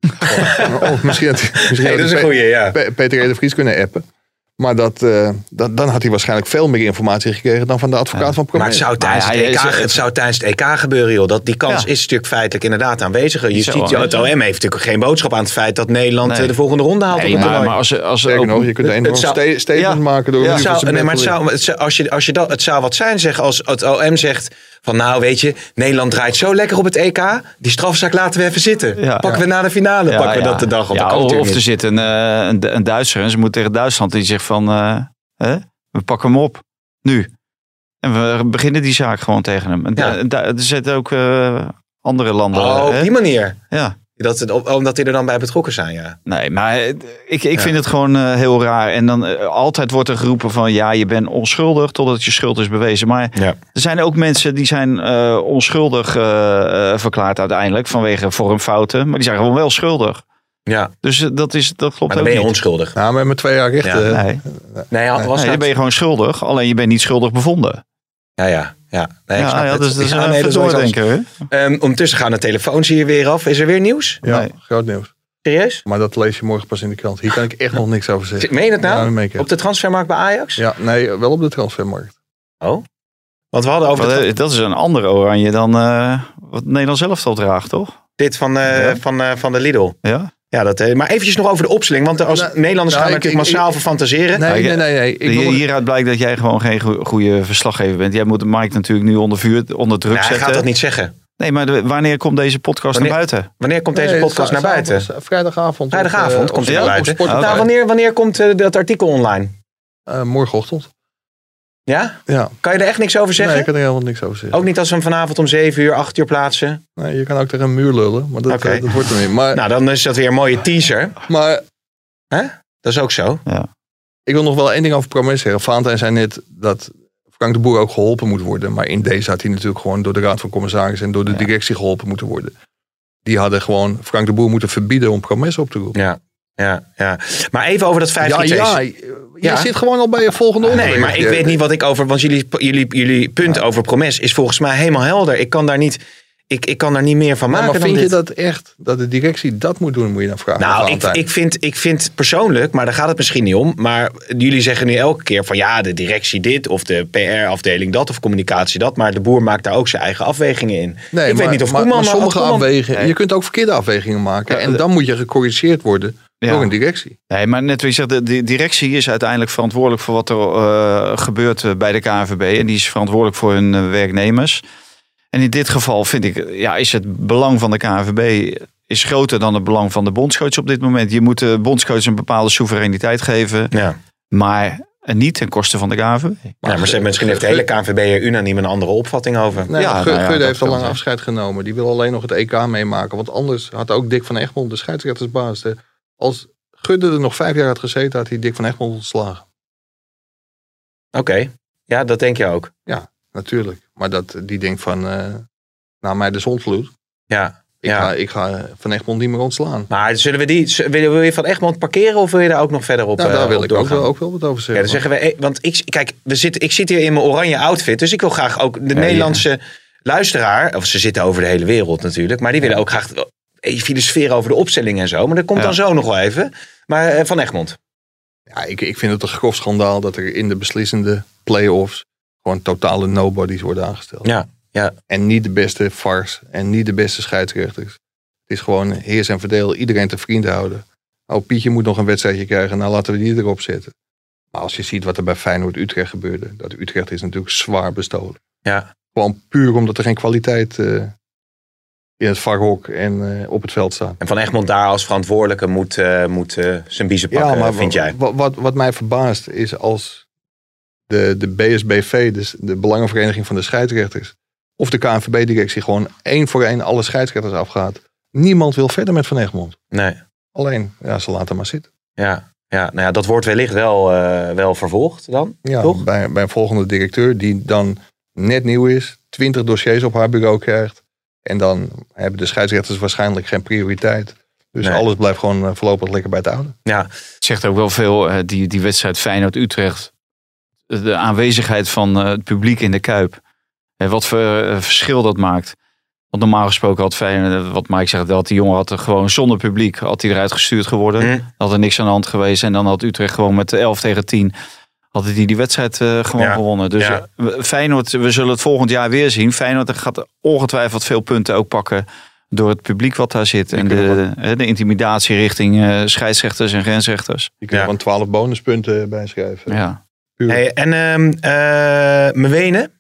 D: of, of misschien had, misschien
B: Nee,
D: had
B: dat is
D: hij
B: een
D: Pe-
B: goeie, ja.
D: Pe- Peter R. de Vries kunnen appen. Maar dat, eh, dat, dan had hij waarschijnlijk veel meer informatie gekregen dan van de advocaat van
B: Maar het
D: Promes.
B: zou tijdens,
C: Maar
B: het,
C: hij
B: EK,
C: is-
B: het zou tijdens het EK gebeuren, joh. Dat, die kans
C: Ja.
B: is natuurlijk feitelijk inderdaad aanwezig. Justitie,
C: Zo, hè?
B: het OM heeft natuurlijk geen boodschap aan het feit dat Nederland
C: Nee.
B: eh, de volgende ronde haalt.
C: Nee,
B: op het
C: maar,
B: toernooi.
C: maar als, als
D: Sterker nog, je kunt
B: het-
D: een of
B: het zou-
D: andere statement
C: ja.
D: maken door
C: Ja.
D: een
B: Het
D: uur van
B: zou,
D: zijn
B: nee, maar het
D: bed te
B: zou, het zou- als je, als je dat, het zou wat zijn, zeg, als het OM zegt van nou weet je, Nederland draait zo lekker op het EK, die strafzaak laten we even zitten.
C: Ja.
B: pakken we na de finale,
C: Ja,
B: pakken we
C: ja.
B: dat de dag op.
C: Ja,
B: dat kan
C: of,
B: natuurlijk
C: of er
B: niet.
C: zit een, eh, een, een Duitser en ze moet tegen Duitsland. Die zegt van, eh, hè, we pakken hem op. Nu. En we beginnen die zaak gewoon tegen hem. En
B: Ja.
C: da- da- er zitten ook eh, andere landen.
B: Oh, op
C: hè?
B: die manier.
C: ja.
B: Dat het, omdat die er dan bij betrokken zijn, ja.
C: Nee, maar het- ik, ik vind het gewoon eh, heel raar. En dan eh, altijd wordt er geroepen van ja, je bent onschuldig totdat je schuld is bewezen. Maar
B: Ja.
C: er zijn ook mensen die zijn eh, onschuldig eh, eh, verklaard uiteindelijk vanwege vormfouten. Maar die zijn gewoon wel schuldig.
B: ja.
C: Dus eh, dat, is, dat klopt
B: Maar dan
C: ook
B: ben je
C: niet.
B: onschuldig.
D: Nou, maar met twee jaar rechten.
B: Ja,
D: eh,
C: Nee,
B: Nee, had- was
C: nee, dan
B: dat-
C: ben je gewoon schuldig. Alleen je bent niet schuldig bevonden.
B: Ja, ja. Ja, nee, ik
C: Ja,
B: snap
C: ja,
B: het.
C: dus dat is
B: Ja,
C: een
B: nee, dat is wel iets anders.
C: verdoordenker, hè?
B: Ehm, ondertussen gaan de telefoons hier weer af. Is er weer nieuws?
D: Ja,
C: Nee.
D: groot nieuws.
B: Serieus?
D: Maar dat lees je morgen pas in de krant. Hier kan ik echt nog niks
B: <laughs>
D: over zeggen.
B: Meen je dat
D: Ja, dat meen
B: nou?
D: ik, ja.
B: Op de transfermarkt bij Ajax?
D: Ja, nee, wel op de transfermarkt.
B: Oh. Want we hadden over de
C: Want,
B: tra-
C: eh, dat is een andere oranje dan eh, wat Nederland zelf al draagt, toch?
B: dit van, eh,
C: Ja.
B: van, eh, van de Lidl.
C: Ja.
B: Ja, dat, eh, maar eventjes nog over de opstelling. Want als
D: Nou,
B: Nederlanders
D: nou,
B: gaan
D: ik-
B: natuurlijk
D: ik-
B: massaal
D: ik-
B: voor fantaseren.
D: Nee, nee, nee. nee. Ik
C: Hier-
D: wil-
C: hieruit blijkt dat jij gewoon geen goe- goede verslaggever bent. Jij moet Mike natuurlijk nu onder vuur, onder druk
B: Nou, hij
C: zetten.
B: gaat dat niet zeggen.
C: Nee, maar de- wanneer komt deze podcast
B: Wanneer-
C: naar buiten?
B: Wanneer komt
D: Nee,
B: deze podcast
D: za-
B: naar buiten?
D: zaterdag- Vrijdagavond. Eh,
B: Vrijdagavond komt hij
D: hij
B: naar buiten.
C: Oké.
B: Nou, wanneer, wanneer komt eh, dat artikel online?
D: Eh, morgenochtend.
B: Ja?
D: Ja.
B: Kan je er echt niks over
D: Nee, ik
B: zeggen?
D: kan er helemaal niks over zeggen.
B: Ook niet als we hem vanavond om 7 uur, 8 uur plaatsen.
D: Nee, je kan ook tegen een muur lullen, maar dat,
B: Oké.
D: eh, dat wordt er niet. Maar,
B: Nou, dan is dat weer een mooie teaser.
D: maar
B: Dat is ook zo.
D: ik wil nog wel één ding over Promes zeggen. Valentijn zei net dat Frank de Boer ook geholpen moet worden. Maar in deze had hij natuurlijk gewoon door de Raad van Commissarissen en door de directie geholpen moeten worden. Die hadden gewoon Frank de Boer moeten verbieden om Promes op te roepen.
B: Ja, ja, ja. Maar even over dat 5
D: Ja, ja, je
B: eh, Ja.
D: zit gewoon al bij je volgende onderwerp.
B: Nee, maar ik
D: Je-
B: weet niet wat ik over. Want jullie, jullie, jullie punt over Promes is volgens mij helemaal helder. Ik kan daar niet, ik, ik kan daar niet meer van
D: Nee,
B: maken.
D: maar
B: dan
D: vind je
B: dit.
D: dat echt, dat de directie dat moet doen, moet je dan vragen aan
B: Nou, ik,
D: Valentijn.
B: ik, vind, ik vind persoonlijk, maar daar gaat het misschien niet om. Maar jullie zeggen nu elke keer van ja, de directie dit of de PR-afdeling dat of communicatie dat. Maar de boer maakt daar ook zijn eigen afwegingen in.
D: Nee,
B: ik
D: maar,
B: weet niet of
D: maar,
B: Koeman...
D: maar sommige
B: had Koeman-
D: afwegingen.
C: Nee.
D: Je kunt ook verkeerde afwegingen maken.
C: Ja,
D: En
C: de-
D: dan moet je gecorrigeerd worden
C: Ja.
D: door een directie.
C: Nee, maar net wie zegt, de de directie is uiteindelijk verantwoordelijk voor wat er eh, gebeurt eh, bij de KNVB. En die is verantwoordelijk voor hun eh, werknemers. En in dit geval vind ik, eh, ja, is het belang van de KNVB eh, is groter dan het belang van de bondscoach op dit moment. Je moet de bondscoach een bepaalde soevereiniteit geven,
B: Ja.
C: maar niet ten koste van de KNVB.
B: Maar, ja, maar ze- misschien heeft de hele KNVB er unaniem een andere opvatting over.
D: Nee,
C: Ja,
D: maar Gu-
C: nou ja,
D: Gudde
C: dat
D: heeft
C: kan
D: al lang
C: zijn.
D: afscheid genomen. Die wil alleen nog het EK meemaken. Want anders had ook Dick van Egmond, de scheidsrechtersbaas. de- Als Gudde er nog vijf jaar had gezeten, had hij Dick van Egmond ontslagen.
B: Oké, ja, dat denk je ook.
D: Natuurlijk. Maar dat, die denkt van, eh, na mij de zondvloed.
B: Ja.
D: Ik,
B: ja.
D: ga, ik ga eh, van Egmond niet meer ontslaan.
B: Maar zullen we die, z- wil je- wil je van Egmond parkeren of wil je daar ook nog verder op
D: Nou,
B: eh,
D: daar
B: op
D: wil ik ook
B: doorgaan?
D: wel, ook wel wat over
B: Ja, dan
D: zeggen.
B: zeggen we, eh, want ik, kijk, we zitten, ik zit hier in mijn oranje outfit, dus ik wil graag ook de Nederlandse luisteraar, of ze zitten over de hele wereld natuurlijk, maar die willen ook graag eh, filosoferen over de opstelling en zo, maar dat komt
C: Ja.
B: dan zo nog wel even. Maar eh, Van Egmond,
D: Ja, ik, ik vind het een grof schandaal dat er in de beslissende play-offs gewoon totale nobodies worden aangesteld.
B: Ja, ja.
D: En niet de beste VARs en niet de beste scheidsrechters. Het is gewoon heers en verdeel, iedereen te vriend houden. Oh, Pietje moet nog een wedstrijdje krijgen, nou laten we die erop zetten. Maar als je ziet wat er bij Feyenoord-Utrecht gebeurde, dat Utrecht is natuurlijk zwaar bestolen.
B: Ja.
D: Gewoon puur omdat er geen kwaliteit eh, in het varhok en eh, op het veld staat.
B: en Van Egmond daar als verantwoordelijke moet, eh, moet eh, zijn biezen pakken, vind
D: wa-
B: jij?
D: wa- Wat, wat mij verbaast is als de, de BSBV, dus de Belangenvereniging van de Scheidsrechters, of de KNVB-directie gewoon één voor één alle scheidsrechters afgaat. Niemand wil verder met Van Egmond.
B: Nee,
D: Alleen, ja, ze laten maar zitten.
B: ja. Ja, nou ja, dat wordt wellicht wel, eh, wel vervolgd dan,
D: Ja,
B: toch?
D: Bij, bij een volgende directeur die dan net nieuw is, twintig dossiers op haar bureau krijgt. En dan hebben de scheidsrechters waarschijnlijk geen prioriteit. Dus
B: Nee.
D: alles blijft gewoon eh, voorlopig lekker bij het oude.
B: Ja,
C: Het zegt ook wel veel, eh, die, die wedstrijd Feyenoord-Utrecht. De aanwezigheid van eh, het publiek in de Kuip. En wat voor eh, verschil dat maakt. Want normaal gesproken had Feyenoord, eh, wat Mike zegt, dat die jongen had er gewoon zonder publiek had hij eruit gestuurd geworden.
B: Hm.
C: Had er niks aan de hand geweest. En dan had Utrecht gewoon met 11 tegen 10 hadden die die wedstrijd eh, gewoon
B: Ja.
C: gewonnen. Dus
B: Ja.
C: eh, we- Feyenoord, we zullen het volgend jaar weer zien. Feyenoord gaat ongetwijfeld veel punten ook pakken door het publiek wat daar zit. En de, eh, de intimidatie richting eh, scheidsrechters en grensrechters.
D: Je kunt
B: Ja.
D: er gewoon twaalf bonuspunten bij schrijven.
C: Ja.
D: Puur.
B: Hey, en ehm eh Mwene,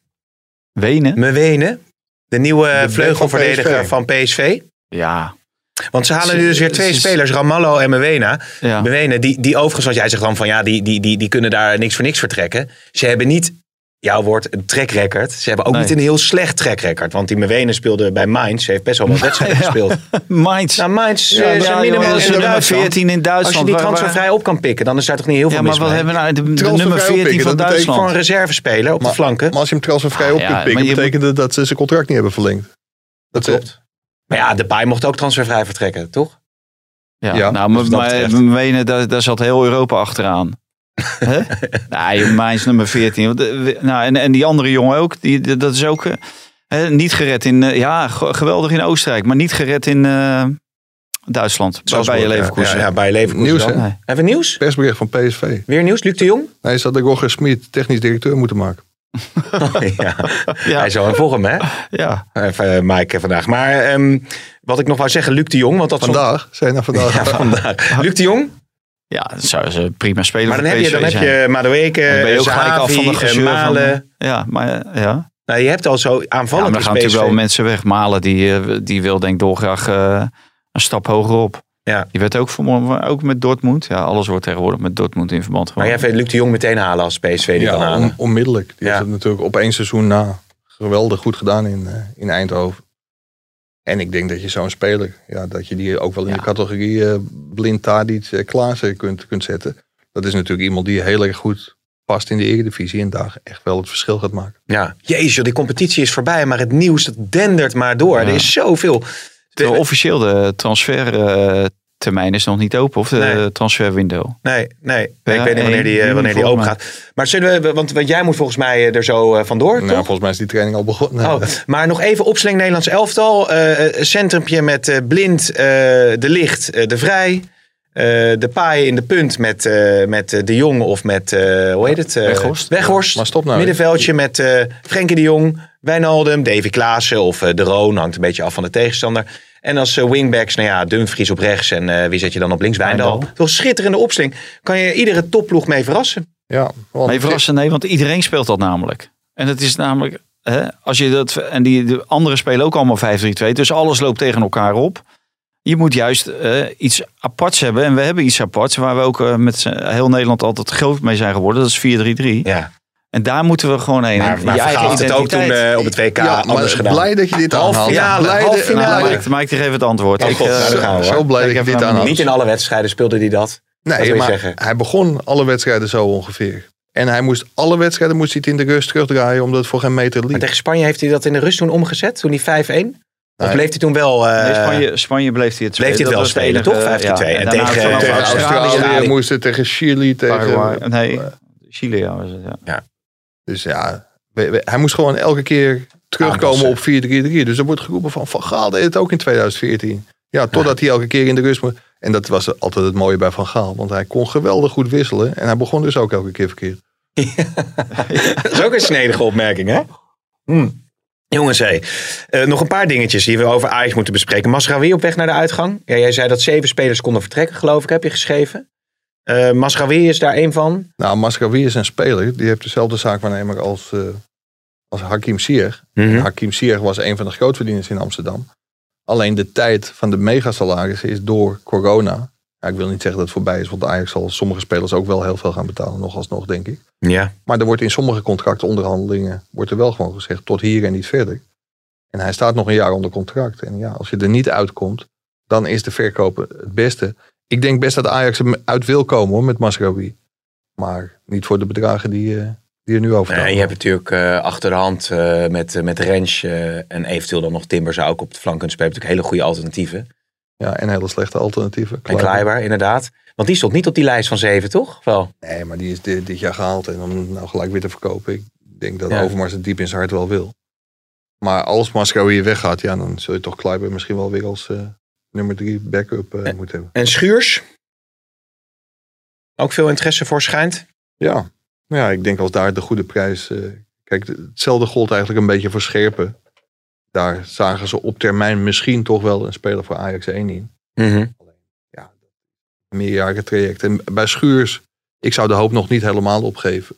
C: Wenen?
B: Mwene, de nieuwe
D: back
B: vleugelverdediger van
D: van
B: PSV.
C: Ja.
B: Want ze halen nu dus weer twee
C: Ze- ze-
B: spelers, Ramallo en Mewena.
C: ja. <laughs>
B: Mewena, die, die overigens, want jij zegt dan van ja, die, die, die, die kunnen daar niks voor niks vertrekken. Ze hebben niet jouw woord, een track record. Ze hebben ook
C: Nee.
B: niet een heel slecht track record. Want die Mewene speelde bij Mainz. Ze heeft best wel
C: <laughs>
B: wat wedstrijden gespeeld.
C: Minds.
B: Nou, Mainz eh,
C: Ja, ja,
B: zijn
C: joh,
B: minimaal
C: en
B: in
C: de nummer
B: Duitsland.
C: 14 in Duitsland.
B: Als je die
C: waar- waar-
B: transfervrij op kan pikken, dan is daar toch niet heel veel
C: Ja, maar
B: mis
C: wat
B: mee.
C: hebben we nou? De, de
D: Transfervrij
C: nummer 14
D: oppikken,
C: van
D: dat betekent
B: Gewoon een
C: Duitsland.
B: reservespeler op de flanken.
D: Maar als je hem transfervrij
C: Ah,
D: op
C: ja,
D: kunt
C: maar
D: pikken,
C: je
D: betekende dat ze zijn contract niet hebben verlengd. Dat
B: klopt.
D: ze-
B: Maar ja, Depay mocht ook transfervrij vertrekken, toch?
C: Ja,
D: Ja,
C: nou,
B: wat dat
C: maar
B: betreft.
C: maar Wenen, daar, daar zat heel Europa <laughs> achteraan. Hè? nou, joh, Mainz nummer 14. Want, eh, we- Nou, en, en die andere jongen ook, die, die- dat is ook eh, hè, niet gered in... eh, ja, ge- geweldig in Oostenrijk, maar niet gered in eh, Duitsland. Zoals bij je Leverkusen.
B: Ja, ja, bij je Leverkusen.
D: Nieuws,
B: dan.
D: hè?
C: Nee.
B: Hebben we nieuws?
D: Persbericht van PSV.
B: Weer nieuws? Luc de
C: <laughs>
B: Jong? <laughs>
D: Nee, ze hadden Roger Smit technisch directeur moeten maken.
B: ja.
C: Ja.
B: Hij zou een volgen, hè?
C: Ja.
B: Even, eh, Mike vandaag. Maar ehm, wat ik nog wou zeggen, Luc de Jong. Want dat stond-
D: Vandaag? Zijn nou vandaag?
B: Ja,
C: <laughs>
B: vandaag. Luc de Jong.
C: ja, dat zou ze prima spelen
B: Maar
C: voor
B: dan heb je,
C: PSV
B: dan heb
C: zijn.
B: je
C: Dan ben je
B: Madueke,
C: ook gelijk af van de
B: Zavi, eh,
C: gezeur
B: Malen.
C: van... Ja, maar eh, ja.
B: Nou, je hebt al zo
C: ja maar
B: aanvallend
C: er gaan
B: is
C: natuurlijk wel
B: PSV.
C: mensen weg. Malen, die, eh, die wil denk ik dolgraag eh, een stap hoger op.
B: Ja.
C: Die werd ook, vermo- ook met Dortmund. Ja, alles wordt tegenwoordig met Dortmund in verband
B: Maar
C: gehouden.
B: jij vindt Luc de Jong meteen halen als PSV die kan
D: Ja,
B: halen.
D: on- onmiddellijk. Die
B: Ja.
D: heeft het natuurlijk op één seizoen na geweldig goed gedaan in, eh, in Eindhoven. En ik denk dat je zo'n speler, ja, dat je die ook wel in
C: Ja.
D: de categorie eh, blind Tadic eh, Klaassen kunt, kunt zetten. Dat is natuurlijk iemand die heel erg goed past in de Eredivisie en daar echt wel het verschil gaat maken.
B: Ja. Jezus, joh, die competitie is voorbij, maar het nieuws dat dendert maar door.
C: Ja.
B: Er is zoveel.
C: Terwijl officieel de transfertermijn is nog niet open, of de
B: Nee.
C: transferwindow.
B: Nee, nee. nee ik
C: Ja,
B: weet niet wanneer die, eh,
C: één
B: wanneer die open
C: volgens
B: gaat. Maar zullen we, want, want jij moet volgens mij eh, er zo eh, vandoor,
D: Nou,
B: toch?
D: volgens mij is die training al
B: <laughs>
D: begonnen. <laughs>
B: Oh, maar nog even opsling Nederlands elftal. Eh, eh, centrumpje met eh, Blind, eh, De Licht, eh, De Vrij. eh, de paai in de punt met, eh, met eh, De Jong of met, eh, hoe heet het? Eh,
C: Weghorst.
B: Weghorst.
D: Maar stop nou.
B: Middenveldje met eh Frenkie de Jong, Wijnaldum, Davy Klaassen of eh, De Roon. Hangt een beetje af van de tegenstander. En als eh, wingbacks, nou ja, Dumfries op rechts en eh, wie zet je dan op links? Wijndal.
C: Wijndal.
B: Toch schitterende opsling. Kan je iedere topploeg mee verrassen?
D: Ja, want
C: Maar je verrast ze, nee, want iedereen speelt dat namelijk. En het is namelijk, hè, als je dat, en die de anderen spelen ook allemaal 5-3-2, dus alles loopt tegen elkaar op. Je moet juist eh, iets aparts hebben. En we hebben iets aparts waar we ook eh, met z'n- heel Nederland altijd groot mee zijn geworden. Dat is 4-3-3.
B: Ja.
C: En daar moeten we gewoon heen.
B: Maar,
C: En
B: maar
C: je eigen
B: Vergaal had het ook toen
C: identiteit.
B: eh, op het WK
D: ja,
B: anders
D: maar
B: gedaan.
D: blij dat je dit
B: Half
D: aanhaalt.
B: finale,
D: Blij
B: half
D: dat-
B: finale.
D: blij
C: nou,
D: dat-
C: Mike, Mike kreeg even het antwoord.
B: Oh,
C: Ik,
B: God,
C: eh,
B: nou, daar gaan we, hoor.
D: zo blij
C: Kijk
D: dat je
C: even
D: dit
C: naar
D: aanhaalt.
B: Niet in alle wedstrijden speelde hij dat. Dat
D: Nee,
B: wil je
D: maar
B: zeggen.
D: hij begon alle wedstrijden zo ongeveer. En hij moest alle wedstrijden moest hij het in de rust terugdraaien, omdat het voor geen meter
B: Maar
D: liep.
B: tegen Spanje heeft hij dat in de rust toen omgezet, toen hij 5-1. Of
D: Nee.
B: bleef hij toen wel... eh,
C: Nee, Spanje, Spanje bleef hij het spelen.
B: Bleef hij het wel
C: Dat was de
B: spelen,
C: enige,
B: toch? 5-2.
C: ja.
B: En
C: daarna
B: tegen-
C: vanaf
D: Tegen
B: tegen
D: Australië,
B: Australië.
D: moest het tegen Chili, tegen...
C: Paraguay. Nee, Chili ja, was het, ja.
D: Dus ja, we- we- hij moest gewoon elke keer terugkomen
B: Aanpassen.
D: op 4-3-3. Dus er wordt geroepen van Van Gaal deed het ook in 2014. Ja, totdat hij elke keer in de rust moest... En dat was altijd het mooie bij Van Gaal. Want hij kon geweldig goed wisselen. En hij begon dus ook elke keer verkeerd.
B: <laughs> Dat is ook een snedige opmerking, hè? Hm. Jongens, hé. Eh, nog een paar dingetjes die we over Ajax moeten bespreken. Masraoui op weg naar de uitgang. Ja, jij zei dat zeven spelers konden vertrekken, geloof ik, heb je geschreven. Eh Masraoui is daar één van.
D: Nou, Mascavi is een speler. Die heeft dezelfde zaakwaarnemer als, eh, als Hakim Ziyech. En Hakim Ziyech was een van de grootverdieners in Amsterdam. Alleen de tijd van de megasalarissen is door corona. Ja, ik wil niet zeggen dat het voorbij is, want Ajax zal sommige spelers ook wel heel veel gaan betalen, nog alsnog, denk ik.
B: Ja.
D: Maar er wordt in sommige contractonderhandelingen wordt er wel gewoon gezegd tot hier en niet verder. En hij staat nog een jaar onder contract. En ja, als je er niet uitkomt, dan is de verkopen het beste. Ik denk best dat Ajax hem uit wil komen hoor, met Masraoui. Maar niet voor de bedragen die, eh, die er nu over
B: Nee, je hebt natuurlijk eh, achter de hand eh, met, eh, met Rens eh, en eventueel dan nog Timber zou ook op de flank kunnen spelen. Natuurlijk hele goede alternatieven.
D: Ja, en hele slechte alternatieven.
B: En Kleiber, inderdaad. Want die stond niet op die lijst van zeven, toch? Wel.
D: Nee, maar die is dit, dit jaar gehaald en om hem nou gelijk weer te verkopen. Ik denk dat
B: Ja.
D: Overmars het diep in zijn hart wel wil. Maar als Masco hier weggaat, ja, dan zul je toch Kleiber misschien wel weer als eh, nummer drie backup eh,
B: Eh.
D: moeten hebben.
B: En Schuurs? Ook veel interesse voor schijnt.
D: Ja. Nou ja, ik denk als daar de goede prijs... eh, kijk, hetzelfde gold eigenlijk een beetje voor Scherpen. Daar zagen ze op termijn misschien toch wel een speler voor Ajax 1 in.
B: Mhm.
D: meerjarige traject. En bij Schuurs, ik zou de hoop nog niet helemaal opgeven.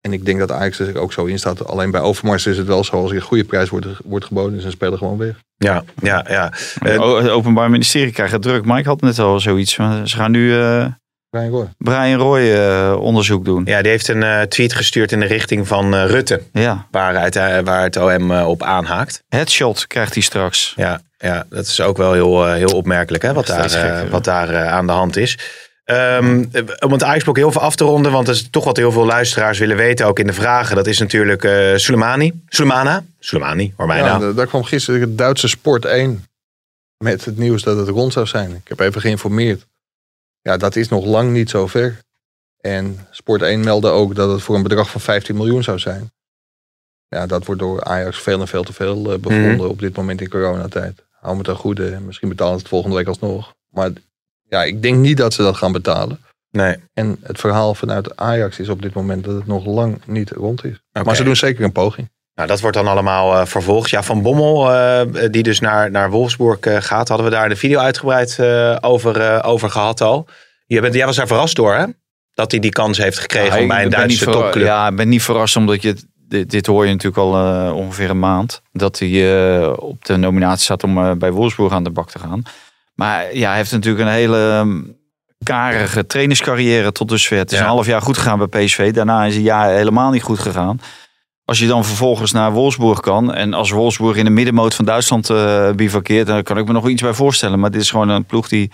D: En ik denk dat Ajax er ook zo in staat. Alleen bij Overmars is het wel zo, als er een goede prijs wordt, wordt geboden, is een speler gewoon weg.
B: Ja, ja, ja.
C: O- het Openbaar Ministerie krijgt het druk. Mike had net al zoiets. van, Ze gaan nu eh,
D: Brian Roy.
C: Brian Roy eh, onderzoek doen. Ja.
B: Ja, die heeft een eh, tweet gestuurd in de richting van eh, Rutte. Waar het, eh, waar het OM eh, op aanhaakt.
C: Headshot krijgt hij straks.
B: Ja, ja dat is ook wel heel, eh, heel opmerkelijk hè, wat,
C: Ja,
B: daar,
C: steeds
B: eh,
C: gekker, hè?
B: wat daar eh, aan de hand is. Ehm, eh, om het Ajax-blok heel veel af te ronden, want dat is toch wat heel veel luisteraars willen weten, ook in de vragen. Dat is natuurlijk eh Soleimani. Soleimana? Soleimani, hoor mij
D: Ja,
B: nou.
D: da- daar kwam gisteren het Duitse Sport 1 met het nieuws dat het rond zou zijn. Ik heb even geïnformeerd. Ja, dat is nog lang niet zo ver. En Sport 1 meldde ook dat het voor een bedrag van 15 miljoen zou zijn. Ja, dat wordt door Ajax veel en veel te veel eh, bevonden
B: Mhm.
D: op dit moment in coronatijd. Hou me ten goede. Misschien betalen ze het volgende week alsnog. Maar ja, ik denk niet dat ze dat gaan betalen.
B: Nee.
D: En het verhaal vanuit Ajax is op dit moment dat het nog lang niet rond is.
B: Oké.
D: Maar ze doen zeker een poging.
B: Nou, dat wordt dan allemaal eh, vervolgd. Ja, Van Bommel, eh, die dus naar, naar Wolfsburg eh, gaat, hadden we daar in de video uitgebreid eh, over, eh, over gehad al. Jij, bent, jij was daar verrast door, hè? Dat hij die kans heeft gekregen
C: Ja,
B: om bij
C: Nou, ik
B: een
C: ben
B: Duitse
C: niet verra-
B: topclub.
C: Ja, ik ben niet verrast omdat je... Dit, dit hoor je natuurlijk al eh, ongeveer een maand. Dat hij eh, op de nominatie staat om eh, bij Wolfsburg aan de bak te gaan. Maar ja, hij heeft natuurlijk een hele ehm, karige trainerscarrière tot dusver. Het is
B: Ja.
C: een half jaar goed gegaan bij PSV. Daarna is een jaar helemaal niet goed gegaan. Als je dan vervolgens naar Wolfsburg kan. En als Wolfsburg in de middenmoot van Duitsland eh bivakkeert. Dan kan ik me nog iets bij voorstellen. Maar dit is gewoon een ploeg die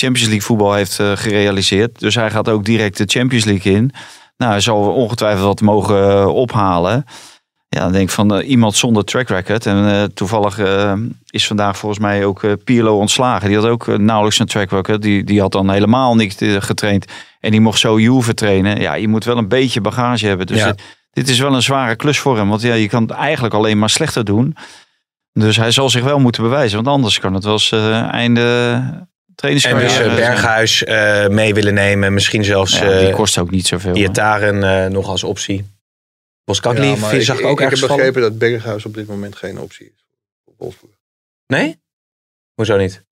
C: Champions League voetbal heeft eh, gerealiseerd. Dus hij gaat ook direct de Champions League in. Nou, hij zal ongetwijfeld wat mogen eh, ophalen. Ja, dan denk ik van eh, iemand zonder track record. En eh, toevallig eh, is vandaag volgens mij ook eh Pirlo ontslagen. Die had ook eh, nauwelijks een track record. Die, die had dan helemaal niet eh, getraind. En die mocht zo Juve trainen. Ja, je moet wel een beetje bagage hebben. Dus
B: Ja.
C: dit, dit is wel een zware klus voor hem. Want ja, je kan het eigenlijk alleen maar slechter doen. Dus hij zal zich wel moeten bewijzen. Want anders kan het wel eens eh, einde
B: En
C: trainingscarrière
B: dus eh,
C: zijn.
B: Berghuis eh, mee willen nemen. Misschien zelfs
C: Ja, die
B: eh
C: kost ook niet zoveel. hè.
B: Iataren eh, nog als optie. Boskakli
D: Ja, maar
B: vind- zag ik ook
D: ik
B: ergens
D: heb
B: vallen.
D: begrepen dat Berghuis op dit moment geen optie is. voor Wolfsburg.
B: Nee? Hoezo niet?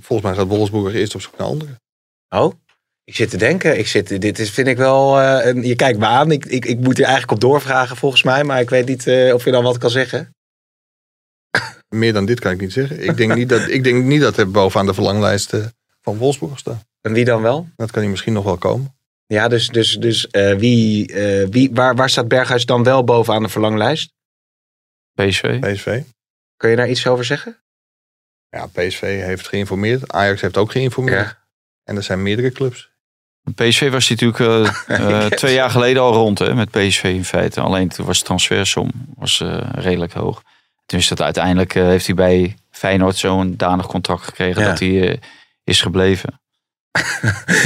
D: Volgens mij gaat Wolfsburg eerst op zoek naar anderen.
B: Oh? Ik zit te denken. Ik zit, dit is, vind ik wel... eh, een- je kijkt me aan. Ik, ik, ik moet hier eigenlijk op doorvragen volgens mij. Maar ik weet niet eh, of je dan wat kan zeggen.
D: Meer dan dit kan ik niet zeggen. Ik denk niet dat, ik denk niet dat er bovenaan de verlanglijst eh, van Wolfsburg staat.
B: En wie dan wel?
D: Dat kan hij misschien nog wel komen.
B: Ja, dus, dus, dus eh, wie, eh, wie, waar, waar staat Berghuis dan wel bovenaan de verlanglijst?
C: PSV.
D: PSV.
B: Kun je daar iets over zeggen?
D: Ja, PSV heeft geïnformeerd. Ajax heeft ook geïnformeerd. En er zijn meerdere clubs.
C: PSV was natuurlijk eh, eh, twee jaar geleden al rond hè, met PSV in feite. Alleen toen was de transfersom was, eh, redelijk hoog. Toen is dat uiteindelijk eh, heeft hij bij Feyenoord zo'n danig contract gekregen
B: Ja.
C: dat hij eh, is
B: <laughs>
C: gebleven.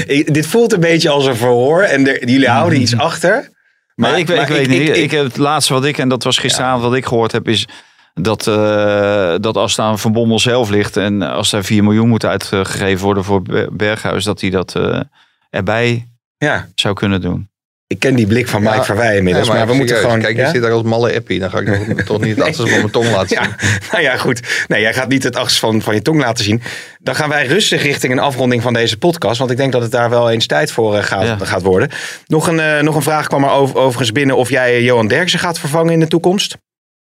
B: Ik- dit voelt een beetje als een verhoor en er- jullie houden iets achter.
C: Maar, ik, weet-
B: maar
C: ik weet niet. Ik, heb het laatste wat ik, en dat was gisteravond wat ik gehoord heb, is dat, eh, dat als daar Van Bommel zelf ligt en als daar 4 miljoen moet uitgegeven worden voor Ber- Berghuis, dat hij dat eh, erbij
B: ja,
C: zou kunnen doen.
B: ik ken die blik van Mike
D: Ja.
B: Verwij inmiddels,
D: Nee,
B: maar, we moeten
D: serieus,
B: gewoon...
D: Kijk,
B: ja?
D: je zit daar als malle appie. Dan ga
B: <laughs>
D: ik toch- toch niet het achterste van mijn tong laten zien.
B: Ja, <laughs> nou ja, goed. Nee, jij gaat niet het achterste van, van je tong laten zien. Dan gaan wij rustig richting een afronding van deze podcast. Want ik denk dat het daar wel eens tijd voor eh, gaat,
C: Ja.
B: gaat worden. Nog een, eh, nog een vraag kwam er over, overigens binnen of jij eh, Johan Derksen gaat vervangen in de toekomst.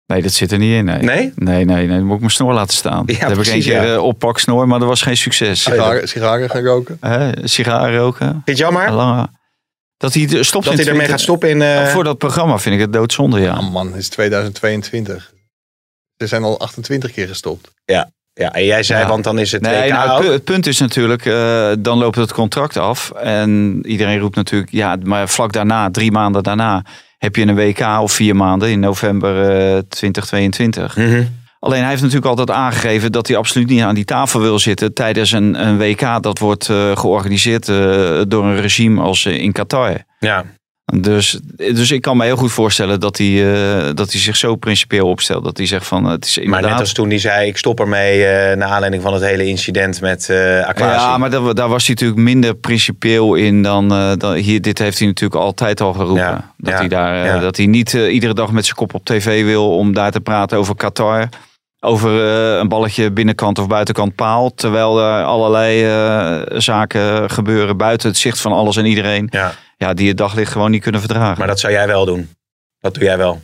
C: Nee, dat zit er niet in.
B: Nee?
C: Nee, nee, nee. Dan moet ik mijn snor laten staan.
B: Ja,
C: dat heb ik één
B: precies,
C: keer
B: ja.
C: eh, oppak snor, maar dat was geen succes.
D: Sigaren, sigaren gaan roken.
C: Hè, sigaren roken.
B: Vind je jammer?
C: Lange. Dat hij er- stopt
B: dat
C: in
B: hij ermee
C: 20
B: gaat stoppen in... eh,
C: Oh, Voor dat programma vind ik het doodzonde, ja.
D: Ah man, het is 2022. Ze zijn al 28 keer gestopt.
B: Ja, en jij zei,
C: Ja.
B: want dan is het
C: Nee,
B: WK
C: nou, het,
B: ook.
C: pu- het punt is natuurlijk, eh, dan loopt het contract af. En iedereen roept natuurlijk, ja, maar vlak daarna, drie maanden daarna, heb je een WK of vier maanden in november eh, 2022.
B: Mhm.
C: Alleen hij heeft natuurlijk altijd aangegeven dat hij absoluut niet aan die tafel wil zitten tijdens een, een WK dat wordt eh, georganiseerd eh, door een regime als eh, in Qatar.
B: Ja.
C: Dus, dus ik kan me heel goed voorstellen dat hij, eh, dat hij zich zo principieel opstelt. Dat hij zegt van eh, het is
B: Maar
C: inderdaad...
B: net als toen hij zei, ik stop ermee eh naar aanleiding van het hele incident met eh Aquasi.
C: ja, maar daar, daar was hij natuurlijk minder principieel in dan, eh, dan hier. Dit heeft hij natuurlijk altijd al geroepen.
B: Ja,
C: dat,
B: ja,
C: hij daar, eh,
B: ja.
C: dat hij niet eh, iedere dag met zijn kop op tv wil om daar te praten over Qatar. Over eh, een balletje binnenkant of buitenkant paal. Terwijl er allerlei eh, zaken gebeuren buiten het zicht van alles en iedereen.
B: Ja,
C: Ja, die het daglicht gewoon niet kunnen verdragen.
B: maar dat zou jij wel doen. Dat doe jij wel.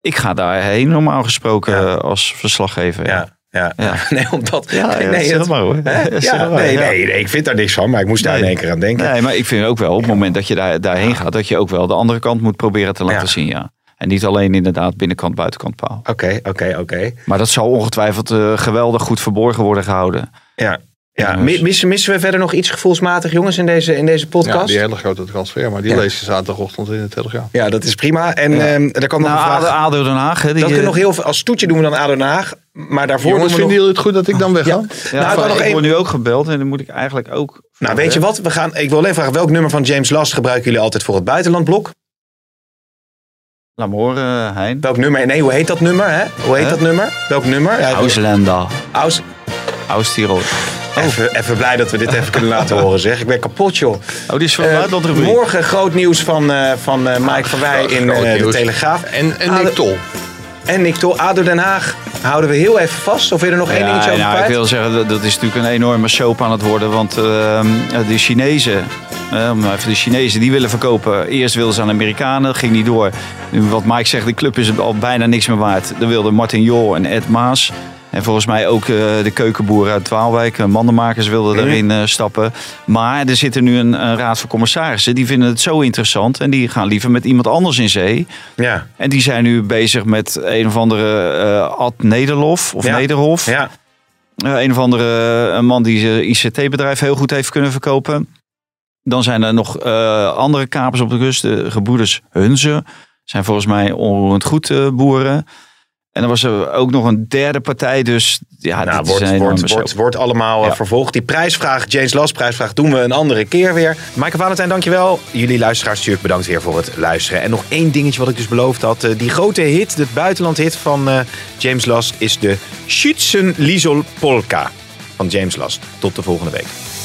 C: Ik ga daarheen normaal gesproken
B: Ja.
C: eh, als verslaggever.
B: Ja.
C: ja.
B: Ja.
C: Ja.
B: <laughs> Nee, omdat...
C: Ja, ja,
B: nee,
C: zeg maar hoor.
B: Hè?
C: <laughs> Ja, zeg
B: Ja,
C: maar,
B: nee,
C: ja.
B: nee, nee, ik vind daar niks van, maar ik moest daar
C: Nee.
B: in één keer aan denken.
C: Nee, maar ik vind ook wel op het moment dat je daar, daarheen gaat, dat je ook wel de andere kant moet proberen te laten
B: Ja.
C: zien. Ja. En niet alleen inderdaad binnenkant, buitenkant paal.
B: Oké, oké, oké.
C: Maar dat zal ongetwijfeld eh, geweldig goed verborgen worden gehouden.
B: Ja. Ja,
C: Ja,
B: mi-
C: dus-
B: missen, missen we verder nog iets gevoelsmatig, jongens, in deze, in deze
D: Ja,
B: podcast?
D: die
B: Ja,
D: hele grote transfer, maar die
B: Ja.
D: lees je zaterdagochtend in de Telegraaf.
B: dat is prima. En ehm er kwam nog
C: Nou,
B: een vraag.
C: ADO, ADO Den Haag. Hè, die,
B: Dan kunnen we
C: eh,
B: nog heel veel, als toetje doen we dan ADO Den Haag. Maar daarvoor
D: Jongens,
B: doen
D: vinden
B: we nog...
D: jullie het goed dat ik dan wegga?
C: ja,
B: nou, ik
C: maar
B: wou nog
C: ik
B: één-
C: word nu ook gebeld en dan moet ik eigenlijk ook... Eh,
B: Nou, weet je wat? We gaan, ik wil alleen vragen, welk nummer van James Last gebruiken jullie altijd voor het buitenlandblok?
C: Laat me horen, eh, Hein.
B: Welk nummer? Nee, hoe heet dat nummer? Hè? Hoe heet
C: Hè?
B: dat nummer? Welk nummer? Ja,
C: Auslanda.
B: Aus-
C: Aus-Tirol.
B: Even, even blij dat we dit even kunnen laten
C: <laughs>
B: horen, zeg. Ik ben kapot, joh.
C: Oh, die is van
B: Eh,
C: buitenland
B: morgen groot nieuws van, eh, van eh, Mike van Wij in
D: groot
B: eh, de
D: nieuws.
B: Telegraaf. Ah,
D: En, en
B: Ado-
D: Nick Tol.
B: En Nick Tol, ADO Den Haag houden we heel even vast. Of wil je er nog één dingetje over
C: nou, ik
B: kwijt?
C: wil zeggen, dat, dat is natuurlijk een enorme soap aan het worden. Want ehm, de Chinezen, eh, om even de Chinezen, die willen verkopen. Eerst wilden ze aan de Amerikanen, ging niet door. Nu, wat Mike zegt, de club is al bijna niks meer waard. Dan wilden Martin Jol en Ed Maas. En volgens mij ook eh, de keukenboer uit Twaalwijk, eh, mandenmakers wilden erin eh, stappen. Maar er zit er nu een, een raad van commissarissen. Die vinden het zo interessant. En die gaan liever met iemand anders in zee.
B: Ja.
C: En die zijn nu bezig met een of andere eh, Ad Nederlof. Of
B: Ja.
C: Nederhof.
B: Ja.
C: Eh, een of andere eh, een man die zijn ICT-bedrijf heel goed heeft kunnen verkopen. Dan zijn er nog eh, andere kapers op de kust. De gebroeders Hunze zijn volgens mij onroerend goed eh, boeren. En dan was er ook nog een derde partij. Dus ja,
B: nou,
C: dit is een
B: wordt,
C: enorme
B: wordt, wordt,
C: soap.
B: wordt allemaal eh,
C: Ja.
B: vervolgd. Die prijsvraag, James Last prijsvraag, doen we een andere keer weer. Maaike Valentijn, dankjewel. Jullie luisteraars natuurlijk bedankt weer voor het luisteren. En nog één dingetje wat ik dus beloofd had. eh, die grote hit, de buitenlandhit van eh, James Last... is de Schützen Liesel Polka van James Last. Tot de volgende week.